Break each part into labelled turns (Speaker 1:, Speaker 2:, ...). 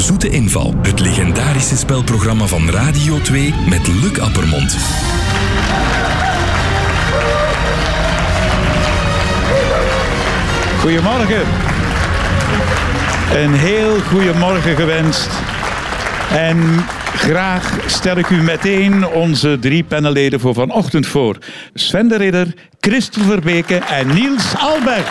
Speaker 1: Zoete Inval. Het legendarische spelprogramma van Radio 2 met Luc Appermond.
Speaker 2: Goedemorgen. Een heel goedemorgen gewenst. En graag stel ik u meteen onze drie panelleden voor vanochtend voor. Sven de Ridder, Christel Verbeke en Niels Albert.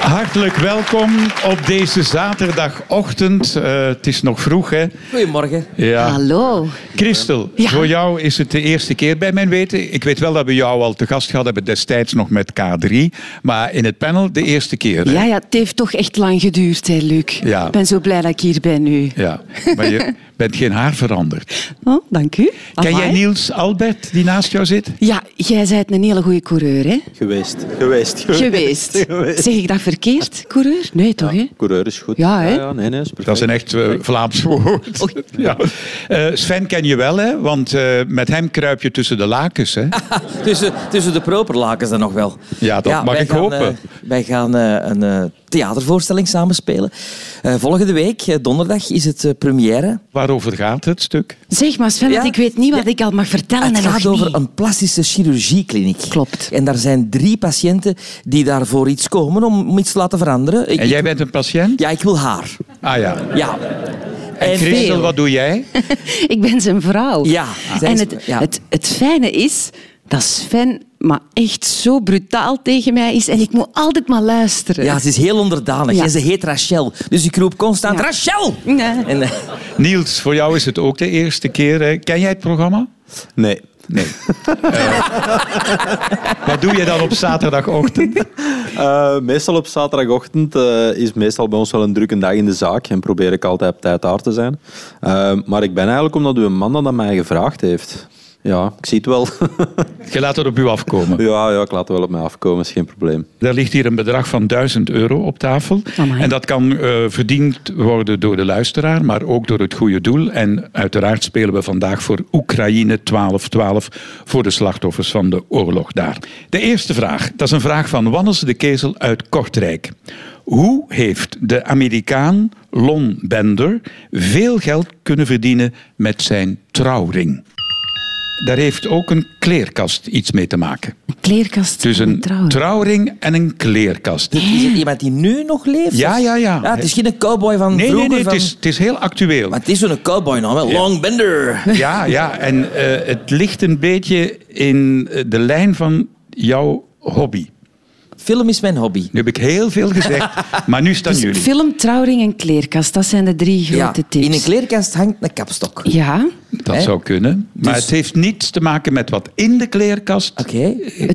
Speaker 2: Hartelijk welkom op deze zaterdagochtend. Eh, het is nog vroeg, hè?
Speaker 3: Goedemorgen.
Speaker 4: Ah.
Speaker 2: Ja.
Speaker 5: Hallo.
Speaker 2: Christel,
Speaker 5: Ja.
Speaker 2: voor jou is het de eerste keer bij mijn weten. Ik weet wel dat we jou al te gast gehad hebben destijds nog met K3. Maar in het panel de eerste keer. hè?
Speaker 5: Ja, ja, het heeft toch echt lang geduurd, hè, Luc.
Speaker 2: Ja.
Speaker 5: Ik ben zo blij dat ik hier ben nu.
Speaker 2: Ja, maar je bent geen haar veranderd.
Speaker 5: Oh, dank u.
Speaker 2: Ken jij
Speaker 5: Amai.
Speaker 2: Niels Albert, die naast jou zit?
Speaker 5: Ja, jij bent een hele goede coureur, hè?
Speaker 3: Geweest. Geweest.
Speaker 5: Geweest. Zeg ik dat verkeerd, coureur? Nee, toch, hè?
Speaker 3: Coureur is goed.
Speaker 5: Ja, hè?
Speaker 3: Ja, nee, nee, is perfect.
Speaker 2: Dat is een echt eh, Vlaams woord. Ja. Eh, Sven ken je wel, hè? Want eh, met hem kruip je tussen de lakens, hè?
Speaker 4: Ah. Tussen, tussen de properlakens dan nog wel.
Speaker 2: Ja, dat mag
Speaker 4: wij
Speaker 2: ik
Speaker 4: gaan,
Speaker 2: hopen.
Speaker 4: eh, wij gaan eh, een eh, theatervoorstelling samenspelen. Eh volgende week, eh, donderdag, is het eh,
Speaker 5: Ah,
Speaker 4: première.
Speaker 2: Waarover gaat het stuk?
Speaker 5: Zeg maar, Sven, want
Speaker 4: Ja?
Speaker 5: ik weet niet wat
Speaker 4: Ja.
Speaker 5: ik al mag vertellen
Speaker 4: Het
Speaker 5: en
Speaker 4: gaat
Speaker 5: nog
Speaker 4: over
Speaker 5: niet.
Speaker 4: een plastische chirurgiekliniek.
Speaker 5: Klopt.
Speaker 4: En daar zijn drie patiënten die daarvoor iets komen om om iets te laten veranderen. Ik-
Speaker 2: En jij bent een patiënt?
Speaker 4: Ja, ik wil haar.
Speaker 2: Ah ja.
Speaker 4: Ja.
Speaker 2: En Christel,
Speaker 4: Eh, veel.
Speaker 2: wat doe jij?
Speaker 5: Ik ben zijn vrouw.
Speaker 4: Ja, zij
Speaker 5: En
Speaker 4: is-
Speaker 5: het,
Speaker 4: ja.
Speaker 5: Het, het fijne is dat Sven maar echt zo brutaal tegen mij is en ik moet altijd maar luisteren.
Speaker 4: Ja, ze is heel onderdanig.
Speaker 5: Ja.
Speaker 4: En ze heet Rachel. Dus ik roep constant,
Speaker 5: Ja.
Speaker 4: Rachel!
Speaker 5: Nee.
Speaker 4: En, eh,
Speaker 2: Niels, voor jou is het ook de eerste keer. hè? Ken jij het programma?
Speaker 3: Nee.
Speaker 2: Nee. Eh, wat doe je dan op zaterdagochtend?
Speaker 3: Eh, meestal op zaterdagochtend eh, is meestal bij ons wel een drukke dag in de zaak en probeer ik altijd op tijd daar te zijn. Eh, maar ik ben eigenlijk omdat u een man dat aan mij gevraagd heeft. Ja, ik zie het wel.
Speaker 2: Je laat het op u afkomen.
Speaker 3: ja, ja, ik laat het wel op mij afkomen, is geen probleem.
Speaker 2: Er ligt hier een bedrag van 1000 euro op tafel.
Speaker 5: Amai.
Speaker 2: En dat kan eh, verdiend worden door de luisteraar, maar ook door het goede doel. En uiteraard spelen we vandaag voor Oekraïne 1212 voor de slachtoffers van de oorlog daar. De eerste vraag, dat is een vraag van Wannes de Kezel uit Kortrijk. Hoe heeft de Amerikaan Lon Bender veel geld kunnen verdienen met zijn trouwring? Daar heeft ook een kleerkast iets mee te maken.
Speaker 5: Een kleerkast
Speaker 2: Dus
Speaker 5: en
Speaker 2: een
Speaker 5: trouwen.
Speaker 2: trouwring en een kleerkast.
Speaker 4: dit is het iemand die nu nog leeft? Ah,
Speaker 2: Ja, ja, ja.
Speaker 4: Het is geen cowboy van
Speaker 2: Nee, nee,
Speaker 4: vroeger.
Speaker 2: nee, het
Speaker 4: van-
Speaker 2: is, het is heel actueel.
Speaker 4: Maar het is zo'n cowboy-naam, wel. Long Bender.
Speaker 2: Ja, ja, en eh, het ligt een beetje in eh, de lijn van jouw hobby.
Speaker 4: Film is mijn hobby.
Speaker 2: Nu heb ik heel veel gezegd, maar nu staan
Speaker 5: Dus
Speaker 2: jullie.
Speaker 5: film, trouwring en kleerkast, dat zijn de drie
Speaker 4: Ja,
Speaker 5: grote tips.
Speaker 4: in een kleerkast hangt een kapstok. Oké.
Speaker 5: Ja,
Speaker 2: Dat
Speaker 4: Hè?
Speaker 2: zou kunnen. Maar
Speaker 4: Dus-
Speaker 2: het heeft niets te maken met wat in de kleerkast,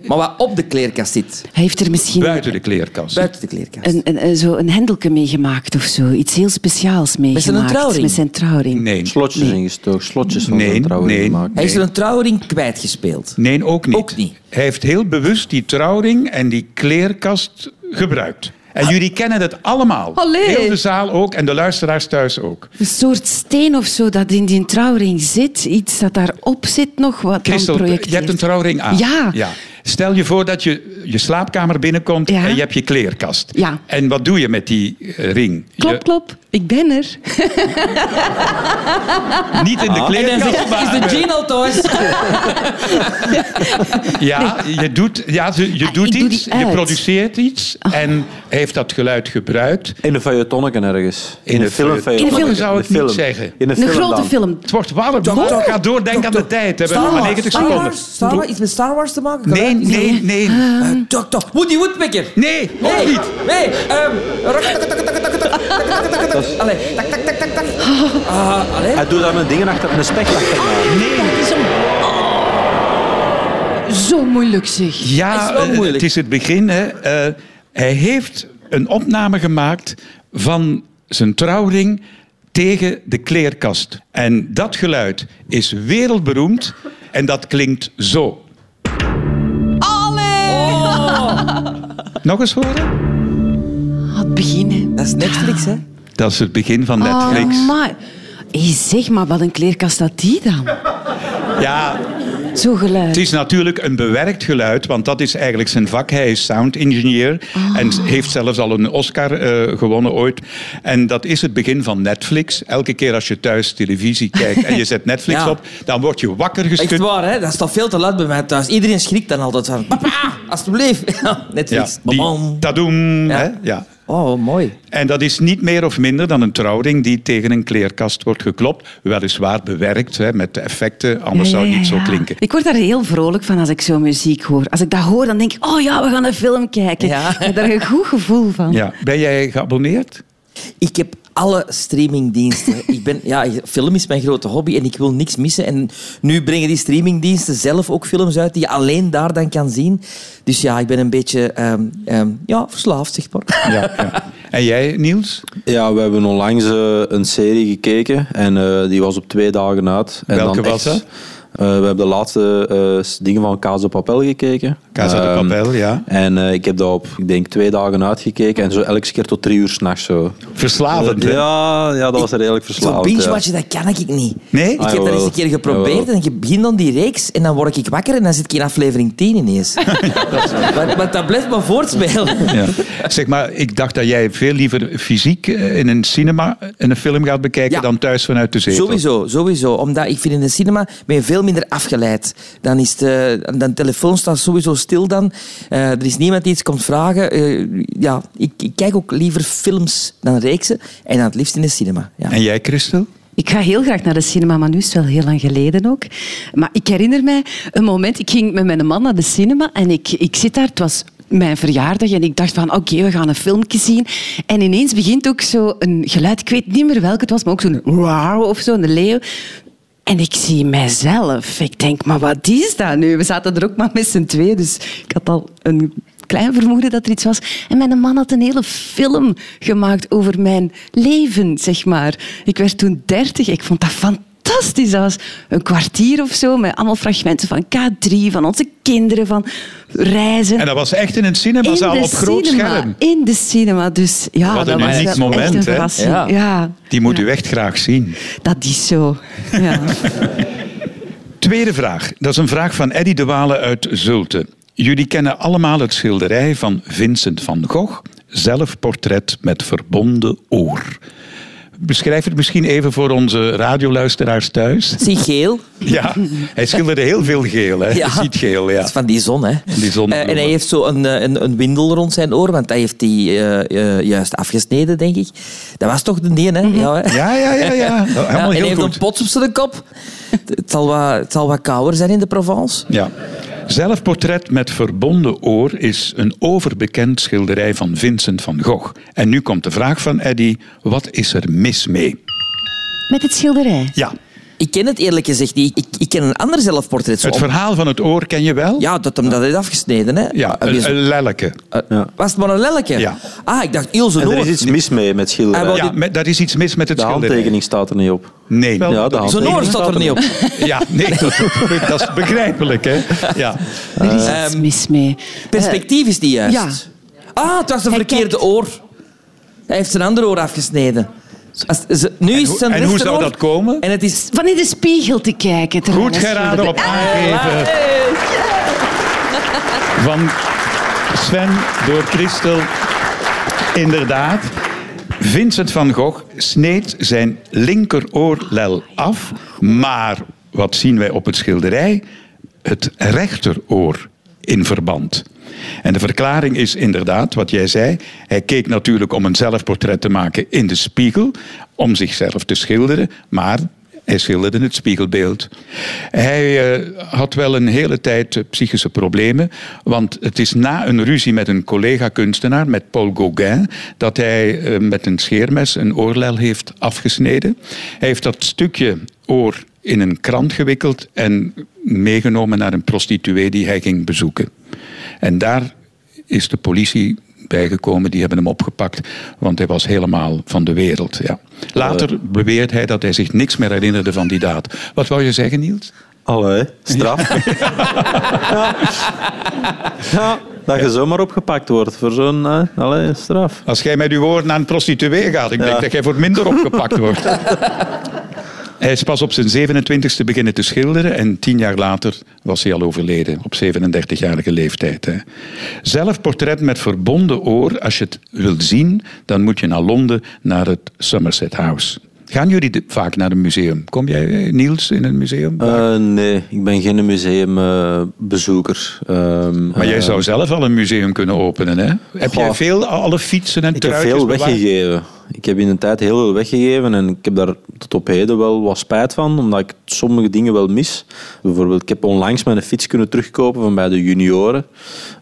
Speaker 4: Maar wat op de kleerkast zit.
Speaker 5: hij heeft er misschien
Speaker 2: buiten de kleerkast.
Speaker 4: Buiten de kleerkast.
Speaker 5: een, een, een- zo een hendelke meegemaakt of zo. Iets heel speciaals meegemaakt.
Speaker 4: trouwring?
Speaker 5: Met zijn trouwring.
Speaker 2: Nee,
Speaker 3: Slotjes ingestoken, slotjes van
Speaker 2: Nee,
Speaker 3: nee, trouwen
Speaker 2: nee.
Speaker 3: gemaakt.
Speaker 4: Hij is er een trouwring kwijtgespeeld.
Speaker 2: nee ook, niet.
Speaker 4: Ook niet.
Speaker 2: Hij heeft heel bewust die trouwring en die kleerkast gebruikt.
Speaker 4: Ah.
Speaker 2: En jullie kennen dat allemaal.
Speaker 5: Allee.
Speaker 2: Heel de zaal ook en de luisteraars thuis ook.
Speaker 5: Een soort steen of zo dat in die trouwring zit. Iets dat daarop zit nog, wat
Speaker 2: Christel,
Speaker 5: dan
Speaker 2: je hebt een
Speaker 5: projecteert.
Speaker 2: trouwring aan.
Speaker 5: Ja.
Speaker 2: Stel je voor dat je je slaapkamer binnenkomt
Speaker 5: Ja.
Speaker 2: en je hebt je kleerkast.
Speaker 5: Ja.
Speaker 2: En wat doe je met die eh, ring?
Speaker 5: Klop, klop, ik ben er.
Speaker 2: Je- Niet in de
Speaker 4: Ah. En
Speaker 2: kleerkast,
Speaker 4: dan zegt,
Speaker 2: maar...
Speaker 4: is de jean al thuis?
Speaker 2: Ja, je doet, ja, je, je
Speaker 5: Ah,
Speaker 2: doet
Speaker 5: ik doe
Speaker 2: iets,
Speaker 5: die
Speaker 2: je
Speaker 5: uit. Ah.
Speaker 2: produceert iets en hij heeft dat geluid gebruikt.
Speaker 3: In een feuilletonneken ergens.
Speaker 2: In een
Speaker 3: filmfeuilletonneken.
Speaker 5: In een film
Speaker 2: zou ik
Speaker 3: In een
Speaker 2: niet
Speaker 3: film.
Speaker 2: zeggen.
Speaker 3: In
Speaker 5: Een grote
Speaker 3: dan.
Speaker 5: film.
Speaker 2: Het wordt warm,
Speaker 4: Toch,
Speaker 2: maar
Speaker 4: toch,
Speaker 2: ga door, denk aan de
Speaker 4: toch.
Speaker 2: tijd. We hebben nog
Speaker 4: Star
Speaker 2: maar
Speaker 4: Wars,
Speaker 2: 90
Speaker 4: Star
Speaker 2: seconden.
Speaker 4: Wars, Star Wars, iets met Star Wars te maken?
Speaker 2: Nee, nee, nee.
Speaker 4: Eh, toch, toch. Woody Woodpecker.
Speaker 2: Nee, ook
Speaker 4: Nee,
Speaker 2: niet.
Speaker 4: nee. ehm, rak- tak, tak, tak, tak, tak, tak, tak, tak, tak. Allee, tak, tak, tak, tak, tak. Ah, allee.
Speaker 3: Hij doet daar een dingen achter, een spek achter.
Speaker 2: Nee.
Speaker 5: Zo moeilijk zeg.
Speaker 2: Ja,
Speaker 4: Is wel
Speaker 2: eh,
Speaker 4: moeilijk.
Speaker 2: het is het begin. Hè. Eh, hij heeft een opname gemaakt van zijn trouwring tegen de kleerkast. En dat geluid is wereldberoemd en dat klinkt zo. Oh. Nog eens horen?
Speaker 5: Had beginnen. Ah,
Speaker 4: Dat is Netflix, hè?
Speaker 2: Dat is het begin van
Speaker 5: Oh,
Speaker 2: Netflix.
Speaker 5: maar. Hé, zeg maar, wat een kleerkast had die dan?
Speaker 2: ja,
Speaker 5: Zo geluid.
Speaker 2: Het is natuurlijk een bewerkt geluid, want dat is eigenlijk zijn vak. Hij is sound engineer en
Speaker 4: Ah.
Speaker 2: heeft zelfs al een Oscar eh, gewonnen ooit. En dat is het begin van Netflix. Elke keer als je thuis televisie kijkt en je zet Netflix
Speaker 4: Ja.
Speaker 2: op, dan word je wakker
Speaker 4: Echt
Speaker 2: geschud.
Speaker 4: waar, hè? dat is toch veel te luid bij mij thuis. Iedereen schrikt dan altijd van... Papa, alsjeblieft. Ja,
Speaker 2: Ja,
Speaker 4: Netflix.
Speaker 2: die
Speaker 4: Bam.
Speaker 2: tadoem,
Speaker 4: Ja.
Speaker 2: hè? Ja.
Speaker 4: Oh, mooi.
Speaker 2: En dat is niet meer of minder dan een trouwring die tegen een kleerkast wordt geklopt. Weliswaar bewerkt hè, met de effecten, anders zou het
Speaker 5: Ja,
Speaker 2: niet
Speaker 5: ja,
Speaker 2: zo
Speaker 5: ja.
Speaker 2: klinken.
Speaker 5: Ik word daar heel vrolijk van als ik zo muziek hoor. Als ik dat hoor, dan denk ik, oh ja, we gaan een film kijken.
Speaker 4: Ja.
Speaker 5: Ik heb daar een goed gevoel van.
Speaker 2: Ja. Ben jij geabonneerd?
Speaker 4: Ik heb alle streamingdiensten. ik ben, ja, film is mijn grote hobby en ik wil niks missen. En nu brengen die streamingdiensten zelf ook films uit die je alleen daar dan kan zien. Dus ja, ik ben een beetje ehm, ehm, ja, verslaafd, zeg maar.
Speaker 2: Ja, ja. En jij, Niels?
Speaker 3: Ja, we hebben onlangs eh, een serie gekeken en eh, die was op twee dagen uit. En
Speaker 2: Welke was dat?
Speaker 3: eh, we hebben de laatste eh, s- dingen van Casa Papel gekeken.
Speaker 2: Casa de
Speaker 3: Ehm,
Speaker 2: Papel, ja.
Speaker 3: En eh, ik heb dat op, ik denk, twee dagen uitgekeken en zo elke keer tot drie uur s'nachts zo.
Speaker 2: Verslavend, hè?
Speaker 3: Eh, ja, ja, dat was redelijk
Speaker 4: Zo
Speaker 3: verslavend. ja.
Speaker 4: binge-watchen, dat kan ik niet.
Speaker 2: eh, Nee?
Speaker 4: Ik
Speaker 2: Ah,
Speaker 4: heb dat eens
Speaker 3: jawel.
Speaker 4: een keer geprobeerd
Speaker 3: Jawel.
Speaker 4: en ik begin dan die reeks en dan word ik wakker en dan zit ik in aflevering 10 ineens. maar, maar dat blijft maar voortspelen.
Speaker 2: Ja. Zeg maar, ik dacht dat jij veel liever fysiek eh, in een cinema in een film gaat bekijken
Speaker 4: Ja.
Speaker 2: dan thuis vanuit de zetel.
Speaker 4: Sowieso, sowieso. Omdat ik vind in de cinema ben je veel minder afgeleid. Dan is de, dan telefoon staat sowieso stil dan. Eh, er is niemand die iets komt vragen. Eh, ja, ik, ik kijk ook liever films dan reeksen. En dan het liefst in de cinema. Ja.
Speaker 2: En jij, Christel?
Speaker 5: Ik ga heel graag naar de cinema, maar nu is het wel heel lang geleden ook. Maar ik herinner mij een moment, ik ging met mijn man naar de cinema en ik, ik zit daar, het was mijn verjaardag en ik dacht van oké, we gaan een filmpje zien. En ineens begint ook zo een geluid, ik weet niet meer welk het was, maar ook zo'n wow of zo, een leeuw. En ik zie mijzelf. Ik denk, maar wat is dat nu? We zaten er ook maar met z'n tweeën, dus ik had al een klein vermoeden dat er iets was. En mijn man had een hele film gemaakt over mijn leven, zeg maar. Ik werd toen dertig. Ik vond dat fantastisch. Dat was een kwartier of zo met allemaal fragmenten van K3, van onze kinderen, van reizen.
Speaker 2: En dat was echt in een cinemazaal
Speaker 5: in de
Speaker 2: op groot
Speaker 5: cinema,
Speaker 2: scherm.
Speaker 5: In de cinema, dus ja,
Speaker 2: Wat
Speaker 5: dat
Speaker 2: een
Speaker 5: was
Speaker 2: uniek
Speaker 5: wel
Speaker 2: moment,
Speaker 5: echt
Speaker 2: hè?
Speaker 5: een verrassing.
Speaker 4: Ja.
Speaker 5: Ja,
Speaker 2: Die moet u echt graag zien.
Speaker 5: dat is zo. Ja.
Speaker 2: Tweede vraag. Dat is een vraag van Eddy de Wale uit Zulte. Jullie kennen allemaal het schilderij van Vincent van Gogh. Zelfportret met verbonden oor. Beschrijf het misschien even voor onze radioluisteraars thuis.
Speaker 4: Zie geel.
Speaker 2: Ja, hij schilderde heel veel geel. Hè? Je ziet geel, ja.
Speaker 4: Dat is van die zon, hè.
Speaker 2: Die zon-
Speaker 4: Eh, en hij heeft zo een, eh, een, een windel rond zijn oor, want hij heeft die eh, eh, juist afgesneden, denk ik. Dat was toch de die, hè? Ja, hè?
Speaker 2: Mhm. Ja, ja, ja. ja. Helemaal
Speaker 4: Ja, en hij
Speaker 2: heel
Speaker 4: heeft
Speaker 2: goed.
Speaker 4: een pot op zijn kop. Het zal, wat, het zal wat kouder zijn in de Provence.
Speaker 2: Ja. Zelfportret met verbonden oor is een overbekend schilderij van Vincent van Gogh. En nu komt de vraag van Eddy, wat is er mis mee?
Speaker 5: Met het schilderij.
Speaker 2: Ja,
Speaker 4: Ik ken het eerlijk gezegd niet. Ik, ik ken een ander zelfportret. Zo
Speaker 2: het
Speaker 4: om-
Speaker 2: verhaal van het oor ken je wel?
Speaker 4: Ja, dat hem dat heeft afgesneden. Hè?
Speaker 2: Ja,
Speaker 4: Ah, wie
Speaker 2: een,
Speaker 4: is-
Speaker 2: een lelleke.
Speaker 4: eh, Was het maar een lelletje?
Speaker 2: Ja.
Speaker 4: Ah, ik dacht Ilse
Speaker 3: En er
Speaker 4: Noord.
Speaker 3: is iets mis mee met
Speaker 4: Hij wou
Speaker 3: schilderen.
Speaker 2: Ja, met- daar is iets mis met het
Speaker 3: De
Speaker 2: schilderij.
Speaker 3: handtekening staat er niet op.
Speaker 2: Nee.
Speaker 3: Ja, de
Speaker 4: Ilse
Speaker 3: handtekening
Speaker 4: Noord staat er niet op.
Speaker 2: Ja, nee, dat, dat is begrijpelijk, hè? Ja.
Speaker 5: Er is iets
Speaker 4: Ehm,
Speaker 5: mis mee. Eh,
Speaker 4: Perspectief is die juist.
Speaker 5: ja.
Speaker 4: Ah, het was de
Speaker 5: Hij
Speaker 4: verkeerde oor. Hij heeft zijn andere oor afgesneden. Als- ze- nu is
Speaker 2: hoe-
Speaker 4: het zijn
Speaker 2: en hoe
Speaker 4: rechteroor
Speaker 2: zou dat komen?
Speaker 4: En het is...
Speaker 5: Van in de spiegel te kijken. terwijl
Speaker 2: Goed
Speaker 5: hij
Speaker 2: geraden op
Speaker 5: schildert.
Speaker 2: aangeven van Sven door Christel. Inderdaad. Vincent van Gogh sneed zijn linkeroorlel af, maar wat zien wij op het schilderij? Het rechteroor in verband. En de verklaring is inderdaad wat jij zei. Hij keek natuurlijk om een zelfportret te maken in de spiegel, om zichzelf te schilderen, maar hij schilderde het spiegelbeeld. Hij eh, had wel een hele tijd eh, psychische problemen. Want het is na een ruzie met een collega-kunstenaar, met Paul Gauguin, dat hij eh, met een scheermes een oorlel heeft afgesneden. Hij heeft dat stukje oor in een krant gewikkeld en meegenomen naar een prostituee die hij ging bezoeken. En daar is de politie bijgekomen, die hebben hem opgepakt, want hij was helemaal van de wereld. Ja. Eh, Later beweert hij dat hij zich niks meer herinnerde van die daad. Wat wou je zeggen, Niels?
Speaker 3: Allee, straf. ja. Ja, dat je zomaar opgepakt wordt voor zo'n eh, allee, straf.
Speaker 2: Als jij met uw woorden naar een prostituee gaat, ik denk dat jij voor het minder opgepakt wordt. Hij is pas op zijn 27e beginnen te schilderen en tien jaar later was hij al overleden, op 37-jarige leeftijd. Hè. Zelf portret met verbonden oor, als je het wilt zien, dan moet je naar Londen, naar het Somerset House. Gaan jullie de- vaak naar een museum? Kom jij, eh, Niels, in een museum?
Speaker 3: Eh, nee, ik ben geen museumbezoeker. Ehm, eh,
Speaker 2: maar jij zou zelf al een museum kunnen openen, hè? Heb jij
Speaker 3: Goh.
Speaker 2: veel, alle fietsen en
Speaker 3: Ik heb
Speaker 2: truitjes
Speaker 3: veel
Speaker 2: bewaard?
Speaker 3: weggegeven. Ik heb in een tijd heel veel weggegeven en ik heb daar tot op heden wel wat spijt van, omdat ik sommige dingen wel mis. Bijvoorbeeld, ik heb onlangs mijn fiets kunnen terugkopen van bij de junioren.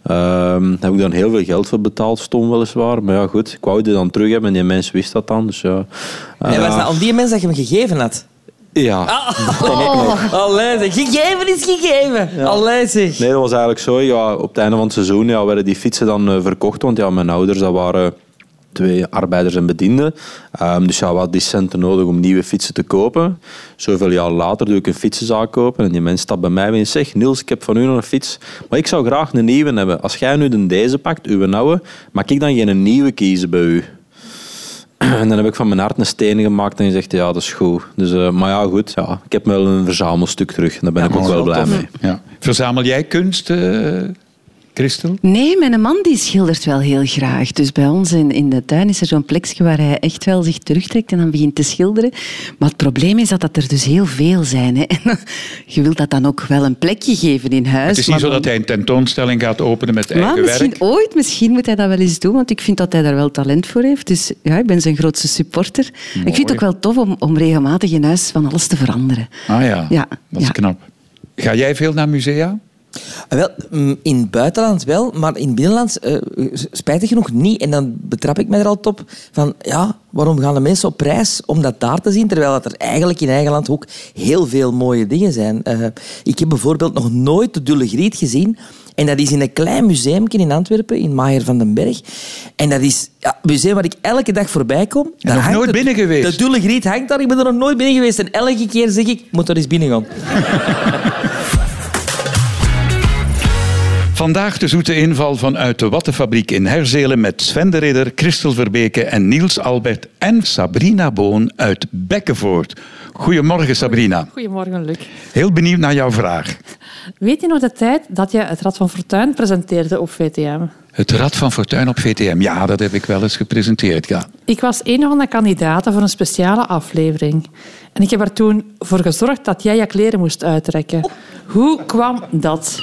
Speaker 3: Ehm, daar heb ik dan heel veel geld voor betaald, stom weliswaar. Maar ja, goed, ik wou die dan terug hebben en die mens wist dat dan. Dus ja.
Speaker 2: Ah.
Speaker 4: En was
Speaker 3: Eh,
Speaker 4: dat al Ah. die mensen dat je hem gegeven had?
Speaker 3: ja.
Speaker 4: Oh, allee, zeg. Gegeven is gegeven. Allee, zeg.
Speaker 3: Nee, dat was eigenlijk zo. Ja, op het einde van het seizoen ja, werden die fietsen dan eh, verkocht. Want ja, mijn ouders dat waren twee arbeiders en bedienden. Ehm, dus ja, we hadden die centen nodig om nieuwe fietsen te kopen. Zoveel jaar later doe ik een fietsenzaak kopen. En die mens stapt bij mij en zegt... Niels, ik heb van u nog een fiets. Maar ik zou graag een nieuwe hebben. Als jij nu de deze pakt, uw oude... Mag ik dan geen nieuwe kiezen bij u? En dan heb ik van mijn hart een steen gemaakt en gezegd, ja, dat is goed. Dus, eh, maar ja, goed, ja, ik heb wel een verzamelstuk terug. En daar ben ik ook wel blij mee.
Speaker 2: Ja. Verzamel jij kunst, eh, Christel?
Speaker 5: Nee, mijn man die schildert wel heel graag. Dus bij ons in, in de tuin is er zo'n plekje waar hij echt wel zich terugtrekt en dan begint te schilderen. Maar het probleem is dat, dat er dus heel veel zijn. Hè. En je wilt dat dan ook wel een plekje geven in huis.
Speaker 2: Het is niet
Speaker 5: maar
Speaker 2: zo
Speaker 5: dan-
Speaker 2: dat hij een tentoonstelling gaat openen met
Speaker 5: Maar
Speaker 2: eigen
Speaker 5: misschien
Speaker 2: werk.
Speaker 5: ooit, misschien moet hij dat wel eens doen, want ik vind dat hij daar wel talent voor heeft. Dus ja, ik ben zijn grootste supporter. Ik vind het ook wel tof om, om regelmatig in huis van alles te veranderen.
Speaker 2: Ah ja,
Speaker 5: Ja,
Speaker 2: dat is
Speaker 5: ja.
Speaker 2: knap. Ga jij veel naar musea?
Speaker 4: Ah, Wel, mm, in het buitenland wel, maar in het binnenland eh, s- spijtig genoeg niet. En dan betrap ik mij er altijd op van, ja, waarom gaan de mensen op reis om dat daar te zien, terwijl dat er eigenlijk in eigen land ook heel veel mooie dingen zijn. Eh, ik heb bijvoorbeeld nog nooit de Dulle Griet gezien. En dat is in een klein museum in Antwerpen, in Maier van den Berg. En dat is ja, een museum waar ik elke dag voorbij kom. Daar
Speaker 2: nog
Speaker 4: hangt
Speaker 2: nooit
Speaker 4: de-
Speaker 2: binnen geweest.
Speaker 4: De Dulle Griet hangt daar, ik ben er nog nooit binnen geweest. En elke keer zeg ik, moet er eens binnen gaan.
Speaker 2: Vandaag de zoete inval vanuit de Wattenfabriek in Herzelen met Sven de Ridder, Christel Verbeke en Niels Albert en Sabrina Boon uit Bekkenvoort. Goedemorgen Sabrina.
Speaker 6: Goedemorgen, Luc.
Speaker 2: Heel benieuwd naar jouw vraag.
Speaker 6: Weet je nog de tijd dat je het Rad van Fortuin presenteerde op VTM?
Speaker 2: Het Rad van Fortuin op VTM. Ja, dat heb ik wel eens gepresenteerd. Ja.
Speaker 6: Ik was een van de kandidaten voor een speciale aflevering. En ik heb er toen voor gezorgd dat jij je kleren moest uittrekken. Hoe kwam dat?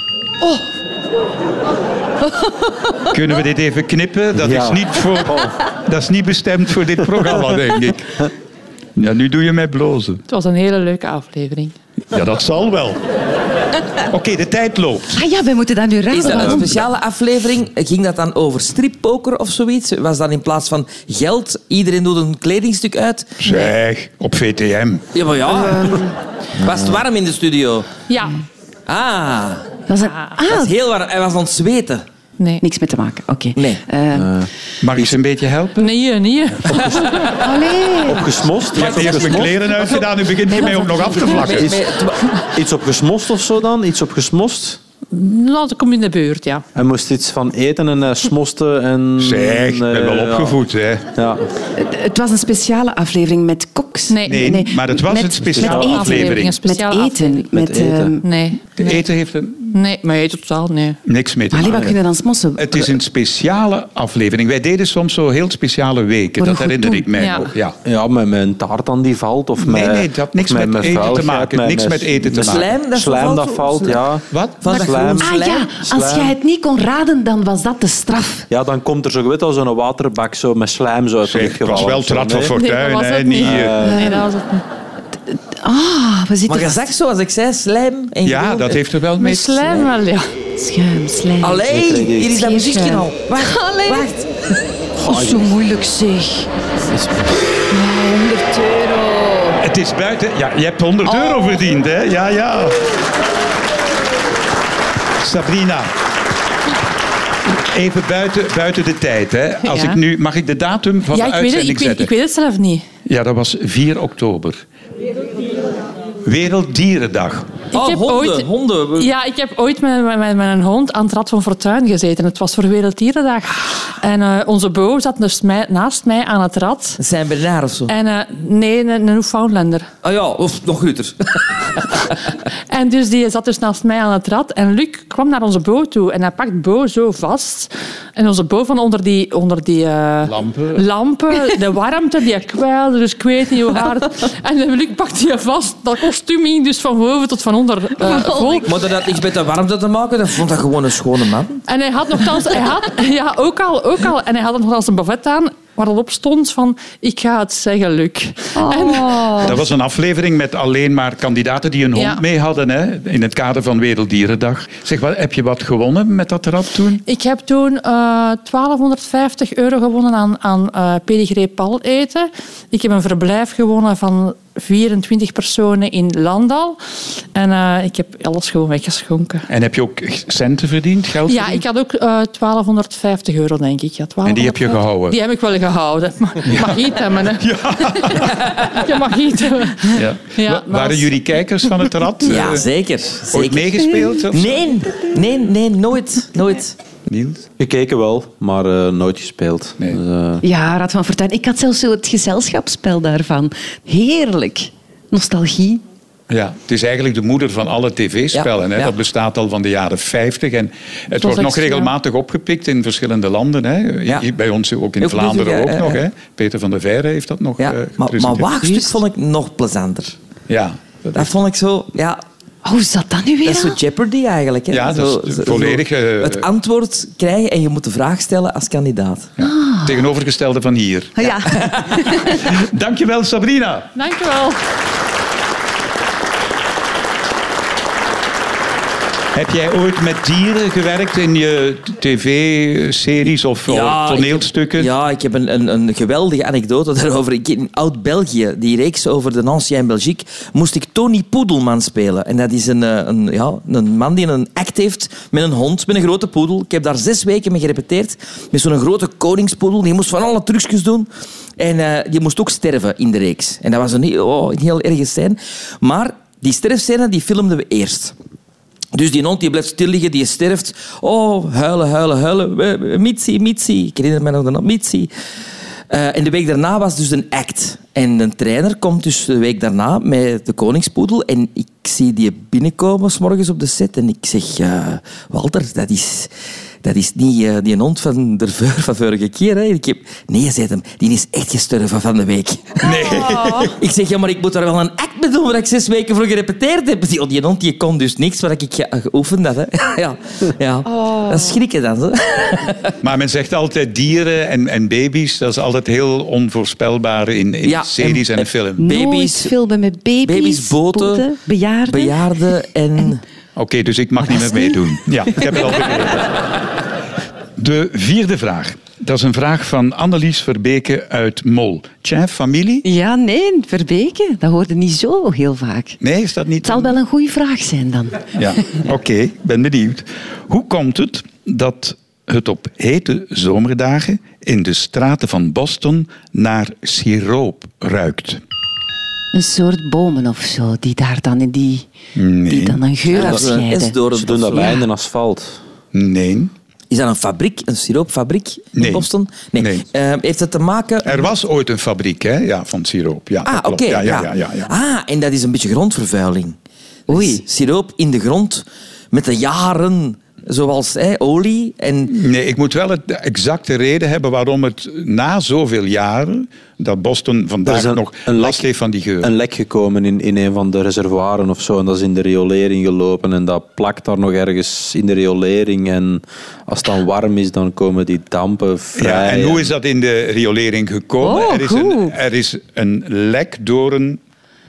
Speaker 2: Kunnen we dit even knippen? Dat,
Speaker 3: Ja. Oh.
Speaker 2: is niet voor, dat is niet bestemd voor dit programma, denk ik. Ja, nu doe je mij blozen.
Speaker 6: Het was een hele leuke aflevering.
Speaker 2: Ja, dat zal wel. Oké, de tijd loopt.
Speaker 5: Ah ja, wij moeten dat nu
Speaker 4: Is dat Dus een
Speaker 5: regelen.
Speaker 4: speciale aflevering? Ging dat dan over strippoker of zoiets? Was dat in plaats van geld, iedereen doet een kledingstuk uit?
Speaker 2: Zeg, op VTM.
Speaker 4: Ja, maar ja.
Speaker 6: Ehm,
Speaker 4: Was het warm in de studio?
Speaker 6: Ja.
Speaker 4: Ah,
Speaker 5: Dat is een... Ah,
Speaker 4: dat is heel warm. Hij was aan het zweten.
Speaker 6: Nee.
Speaker 5: niks mee te maken. Oké.
Speaker 4: Nee.
Speaker 5: Eh,
Speaker 2: Mag ik ze een beetje helpen?
Speaker 6: Nee, eh, nee.
Speaker 5: allee.
Speaker 3: Opgesmost?
Speaker 2: Je hebt eerst mijn kleren uitgedaan, nu begint je mij ook nog af te vlakken.
Speaker 4: Met- met-
Speaker 3: Iets op gesmost of zo dan? Iets op gesmost?
Speaker 6: Nou, dan kom je in de buurt, ja.
Speaker 3: Hij moest iets van eten en eh, smosten en...
Speaker 2: Zeg, ik ben
Speaker 3: eh,
Speaker 2: wel
Speaker 3: ja.
Speaker 2: opgevoed, hè.
Speaker 3: Ja.
Speaker 5: Het, het was een speciale aflevering met koks.
Speaker 6: Nee.
Speaker 2: Nee, maar het was
Speaker 5: Met-
Speaker 2: een speciale
Speaker 5: met
Speaker 6: Een
Speaker 5: eten.
Speaker 2: aflevering.
Speaker 6: Een
Speaker 5: Met
Speaker 6: speciale
Speaker 5: eten. Met,
Speaker 3: Met eten.
Speaker 5: ehm,
Speaker 6: Nee. Nee.
Speaker 2: Eten heeft er
Speaker 6: nee. Maar je totaal, nee.
Speaker 2: niks mee te
Speaker 4: Ah,
Speaker 5: allee, wat
Speaker 2: maken.
Speaker 5: kunnen we dan smossen?
Speaker 2: Het is een speciale aflevering. Wij deden soms zo heel speciale weken.
Speaker 5: Voor een
Speaker 2: Dat
Speaker 5: goed
Speaker 2: herinner
Speaker 5: doel.
Speaker 2: ik mij
Speaker 6: Ja.
Speaker 2: nog. Ja.
Speaker 3: ja, met mijn taart dan die valt. Of
Speaker 2: Nee,
Speaker 3: met,
Speaker 2: nee, dat had niks
Speaker 3: of
Speaker 2: met
Speaker 3: mijn
Speaker 2: eten te
Speaker 3: vuiligheid,
Speaker 2: maken. Niks met eten te
Speaker 3: mijn
Speaker 4: maken. Slijm dat
Speaker 3: slijm dat
Speaker 4: valt,
Speaker 3: valt,
Speaker 4: slijm.
Speaker 3: ja.
Speaker 2: Wat?
Speaker 4: Van dat
Speaker 3: Slijm.
Speaker 4: groene
Speaker 5: Ah ja,
Speaker 4: slijm.
Speaker 5: als
Speaker 3: Slijm.
Speaker 5: jij het niet kon raden, dan was dat de straf.
Speaker 3: Ja, dan komt er zo, je weet al zo'n waterbak zo met slijm zo uit de
Speaker 2: Zeg,
Speaker 3: lucht
Speaker 2: het
Speaker 3: gevallen.
Speaker 2: was wel
Speaker 3: of
Speaker 2: het
Speaker 3: zo,
Speaker 2: rad van
Speaker 3: nee?
Speaker 2: Fortuin.
Speaker 6: was
Speaker 2: hè,
Speaker 6: het
Speaker 2: niet,
Speaker 6: niet.
Speaker 2: eh,
Speaker 6: Nee, dat was het niet.
Speaker 5: Ah, we
Speaker 4: Maar
Speaker 5: zitten
Speaker 4: je zag zo, als ik zei, slijm en
Speaker 2: Ja,
Speaker 4: gedoe.
Speaker 2: dat heeft er wel mee.
Speaker 6: Met slijm wel, ja.
Speaker 5: schuim, slijm.
Speaker 4: Allee, hier is dat muziekje al. Wacht,
Speaker 5: Allee.
Speaker 4: wacht.
Speaker 5: Oh, zo moeilijk zeg. 100 euro.
Speaker 2: Het is buiten. Ja, je hebt 100
Speaker 6: Oh.
Speaker 2: euro verdiend, hè? Ja, ja. Sabrina. Even buiten, buiten de tijd, hè? Als
Speaker 6: Ja.
Speaker 2: ik nu, mag ik de datum van
Speaker 6: Ja,
Speaker 2: de
Speaker 6: ik weet, het,
Speaker 2: uitzending
Speaker 6: ik, weet,
Speaker 2: zetten?
Speaker 6: ik weet het zelf niet.
Speaker 2: Ja, dat was 4 oktober. Werelddierendag.
Speaker 4: Oh,
Speaker 6: heb
Speaker 4: honden,
Speaker 6: ooit-
Speaker 4: honden. We-
Speaker 6: Ja, ik heb ooit met, met, met een hond aan het Rad van Fortuin gezeten. Het was voor Werelddierendag. En eh, onze Bo zat dus mij- naast mij aan het rad.
Speaker 4: Dat zijn Bernard of zo.
Speaker 6: En eh, nee, een, een Newfoundlander.
Speaker 4: Oh ja, of nog groter.
Speaker 6: En dus die zat dus naast mij aan het rad. En Luc kwam naar onze Bo toe. En hij pakt Bo zo vast. En onze Bo van onder die... Onder die eh,
Speaker 2: Lampen.
Speaker 6: lampen, de warmte, die kwijlde, dus ik weet niet hoe hard. En de Luc pakte je vast, dat kostuum hing dus van boven tot van onder eh, vol.
Speaker 4: Maar dat had niks met de warmte te maken. Dat vond dat gewoon een schone man.
Speaker 6: En hij had nogthans, hij had, ja, ook al, ook al, en hij had nogthans een buffet aan waar al op stond van, ik ga het zeggen, Luc.
Speaker 2: Dat was een aflevering met alleen maar kandidaten die een hond
Speaker 6: Oh. Ja.
Speaker 2: mee hadden. Hè, in het kader van Werelddierendag. Zeg, wat, heb je wat gewonnen met dat rad toen?
Speaker 6: Ik heb toen eh, 1250 euro gewonnen aan, aan eh, pedigree paleten. Ik heb een verblijf gewonnen van 24 personen in Landal. En eh, ik heb alles gewoon weggeschonken.
Speaker 2: En heb je ook centen verdiend, geld
Speaker 6: Ja,
Speaker 2: verdiend?
Speaker 6: ik had ook eh, 1250 euro, denk ik. Ja,
Speaker 2: En die heb je
Speaker 6: 1250.
Speaker 2: gehouden?
Speaker 6: Die heb ik wel gehouden. Ma- Mag niet hebben, hè. Je mag niet hebben.
Speaker 2: Ja.
Speaker 6: Ja,
Speaker 2: Wa-
Speaker 6: dat
Speaker 2: Waren
Speaker 6: was-
Speaker 2: jullie kijkers van het rad?
Speaker 4: Ja,
Speaker 2: Eh,
Speaker 4: zeker.
Speaker 2: Ooit
Speaker 4: zeker.
Speaker 2: meegespeeld? of zo?
Speaker 4: Nee, nee, nee, nooit. nooit.
Speaker 2: Niels?
Speaker 3: Gekeken wel, maar eh, nooit gespeeld.
Speaker 2: Nee.
Speaker 3: Dus, eh,
Speaker 5: Ja, Rad van Fortuin. Ik had zelfs zo het gezelschapsspel daarvan. Heerlijk. Nostalgie.
Speaker 2: Ja, het is eigenlijk de moeder van alle tv-spellen.
Speaker 4: Ja,
Speaker 2: hè.
Speaker 4: ja.
Speaker 2: Dat bestaat al van de jaren 50. En het wordt
Speaker 6: echt,
Speaker 2: nog
Speaker 6: ja.
Speaker 2: regelmatig opgepikt in verschillende landen. Hè.
Speaker 4: Ja.
Speaker 2: Hier Bij ons ook in
Speaker 4: Ook
Speaker 2: Vlaanderen
Speaker 4: België,
Speaker 2: ook
Speaker 4: ja,
Speaker 2: nog.
Speaker 4: ja.
Speaker 2: Hè. Peter van der Veire heeft dat nog
Speaker 4: Ja,
Speaker 2: eh,
Speaker 4: maar, maar
Speaker 2: gepresenteerd.
Speaker 4: waagstuk vond ik nog plezanter.
Speaker 2: Ja, dat
Speaker 4: Dat vond ik zo... Ja,
Speaker 5: Oh, hoe zat dat nu weer
Speaker 4: dat is zo
Speaker 5: aan?
Speaker 4: Jeopardy eigenlijk. Hè.
Speaker 2: Ja, dat is eh,
Speaker 4: Zo-
Speaker 2: de
Speaker 4: zo-
Speaker 2: volledige-
Speaker 4: zo Het antwoord krijgen en je moet de vraag stellen als kandidaat.
Speaker 2: ja.
Speaker 4: Ah.
Speaker 2: tegenovergestelde van hier.
Speaker 5: Ah, Ja.
Speaker 2: Dankjewel Sabrina.
Speaker 6: Dankjewel.
Speaker 2: Heb jij ooit met dieren gewerkt in je t- tv-series of of toneelstukken?
Speaker 4: Ik heb, ja, ik heb een, een, een geweldige anekdote daarover. Ik, in Oud-België, die reeks over de Ancien Belgique, moest ik Tony Poedelman spelen. En dat is een, eh, een, ja, een man die een act heeft met een hond, met een grote poedel. Ik heb daar zes weken mee gerepeteerd. Met zo'n grote koningspoedel. Die moest van alle trucjes doen. En eh, die moest ook sterven in de reeks. En dat was een, heel- oh, een heel erge scène. Maar die sterfscène die filmden we eerst. Dus die hond die blijft stil liggen, die sterft. Oh, huilen, huilen, huilen. We- we- Mitsie, Mitsie. Ik herinner me nog de naam Mitsie. Eh, en de week daarna was dus een act. En een trainer komt dus de week daarna met de koningspoedel. En ik zie die binnenkomen 's morgens op de set. En ik zeg, eh, Walter, dat is, dat is niet eh, die hond van de veur- van vorige keer. Hè? Ik heb, nee, je zegt hem, die is echt gestorven van de week. Ik zeg, ja, maar ik moet daar wel een act mee doen waar ik zes weken voor gerepeteerd heb. Die, die hond die kon dus niks waar ik ge- geoefend had. Hè. Ja, ja. Dat is schrikken dan. Zo.
Speaker 2: Maar men zegt altijd dieren en, en baby's, dat is altijd heel onvoorspelbaar in, in
Speaker 4: Ja,
Speaker 2: series en,
Speaker 4: en-
Speaker 2: in film.
Speaker 5: Nooit
Speaker 4: Baby's,
Speaker 5: filmen met baby's,
Speaker 4: baby's boten,
Speaker 5: bejaarden.
Speaker 4: bejaarden en...
Speaker 2: Oké, dus ik mag niet meer meedoen. Ja, ik heb het al begrepen. De vierde vraag. Dat is een vraag van Annelies Verbeke uit Mol. Tja, familie?
Speaker 5: Ja, nee, Verbeke. Dat hoorde niet zo heel vaak. Het
Speaker 2: Nee, is dat niet?
Speaker 5: zal wel een goede vraag zijn dan.
Speaker 2: Ja, oké, ik ben benieuwd. Hoe komt het dat het op hete zomerdagen in de straten van Boston naar siroop ruikt?
Speaker 5: Een soort bomen of zo, die daar dan, in die, die dan een geur
Speaker 4: Dat is een
Speaker 5: afscheiden.
Speaker 4: S-dorp
Speaker 3: ze doen dat
Speaker 4: of zo.
Speaker 3: bij in een asfalt.
Speaker 2: Nee.
Speaker 4: Is dat een fabriek, een siroopfabriek in
Speaker 2: Nee.
Speaker 4: Boston? Nee.
Speaker 2: Nee.
Speaker 4: Eh, heeft dat te maken...
Speaker 2: Er was ooit een fabriek hè? Ja, van siroop. Ja, dat
Speaker 4: Ah, oké.
Speaker 2: klopt. ja, ja, ja, ja, ja.
Speaker 4: Ah, en dat is een beetje grondvervuiling. Dat
Speaker 5: Oei.
Speaker 4: is Siroop in de grond met de jaren, zoals hè, olie en...
Speaker 2: Nee, ik moet wel het, de exacte reden hebben waarom het na zoveel jaren dat Boston
Speaker 3: Er
Speaker 2: vandaag
Speaker 3: is een-
Speaker 2: nog
Speaker 3: een
Speaker 2: last
Speaker 3: lek-
Speaker 2: heeft van die geur.
Speaker 3: Een lek gekomen in, in een van de reservoiren of zo. En dat is in de riolering gelopen. En dat plakt daar nog ergens in de riolering. En als het dan warm is, dan komen die dampen vrij.
Speaker 2: ja, en hoe is dat in de riolering gekomen?
Speaker 5: Oh,
Speaker 2: er, is
Speaker 5: goed.
Speaker 2: een, er is een lek door een.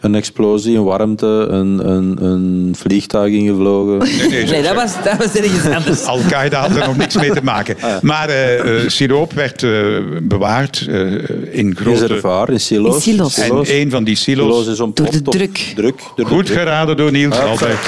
Speaker 3: Een explosie, een warmte, een, een, een vliegtuig ingevlogen.
Speaker 2: Nee, nee,
Speaker 4: Nee, dat was, dat was ergens anders.
Speaker 2: Al-Qaeda had er nog niks mee te maken.
Speaker 3: Ah.
Speaker 2: Maar eh, eh, siroop werd eh, bewaard eh, in
Speaker 3: In
Speaker 2: grote...
Speaker 3: reservoir, in silo's.
Speaker 5: In silo's.
Speaker 2: En
Speaker 3: Silo's.
Speaker 2: een van die silo's...
Speaker 3: Silo's is om
Speaker 5: Door de
Speaker 3: pot of
Speaker 5: druk.
Speaker 3: druk door de
Speaker 2: Goed
Speaker 3: druk.
Speaker 2: geraden door Niels.
Speaker 3: Ah,
Speaker 2: Altijd.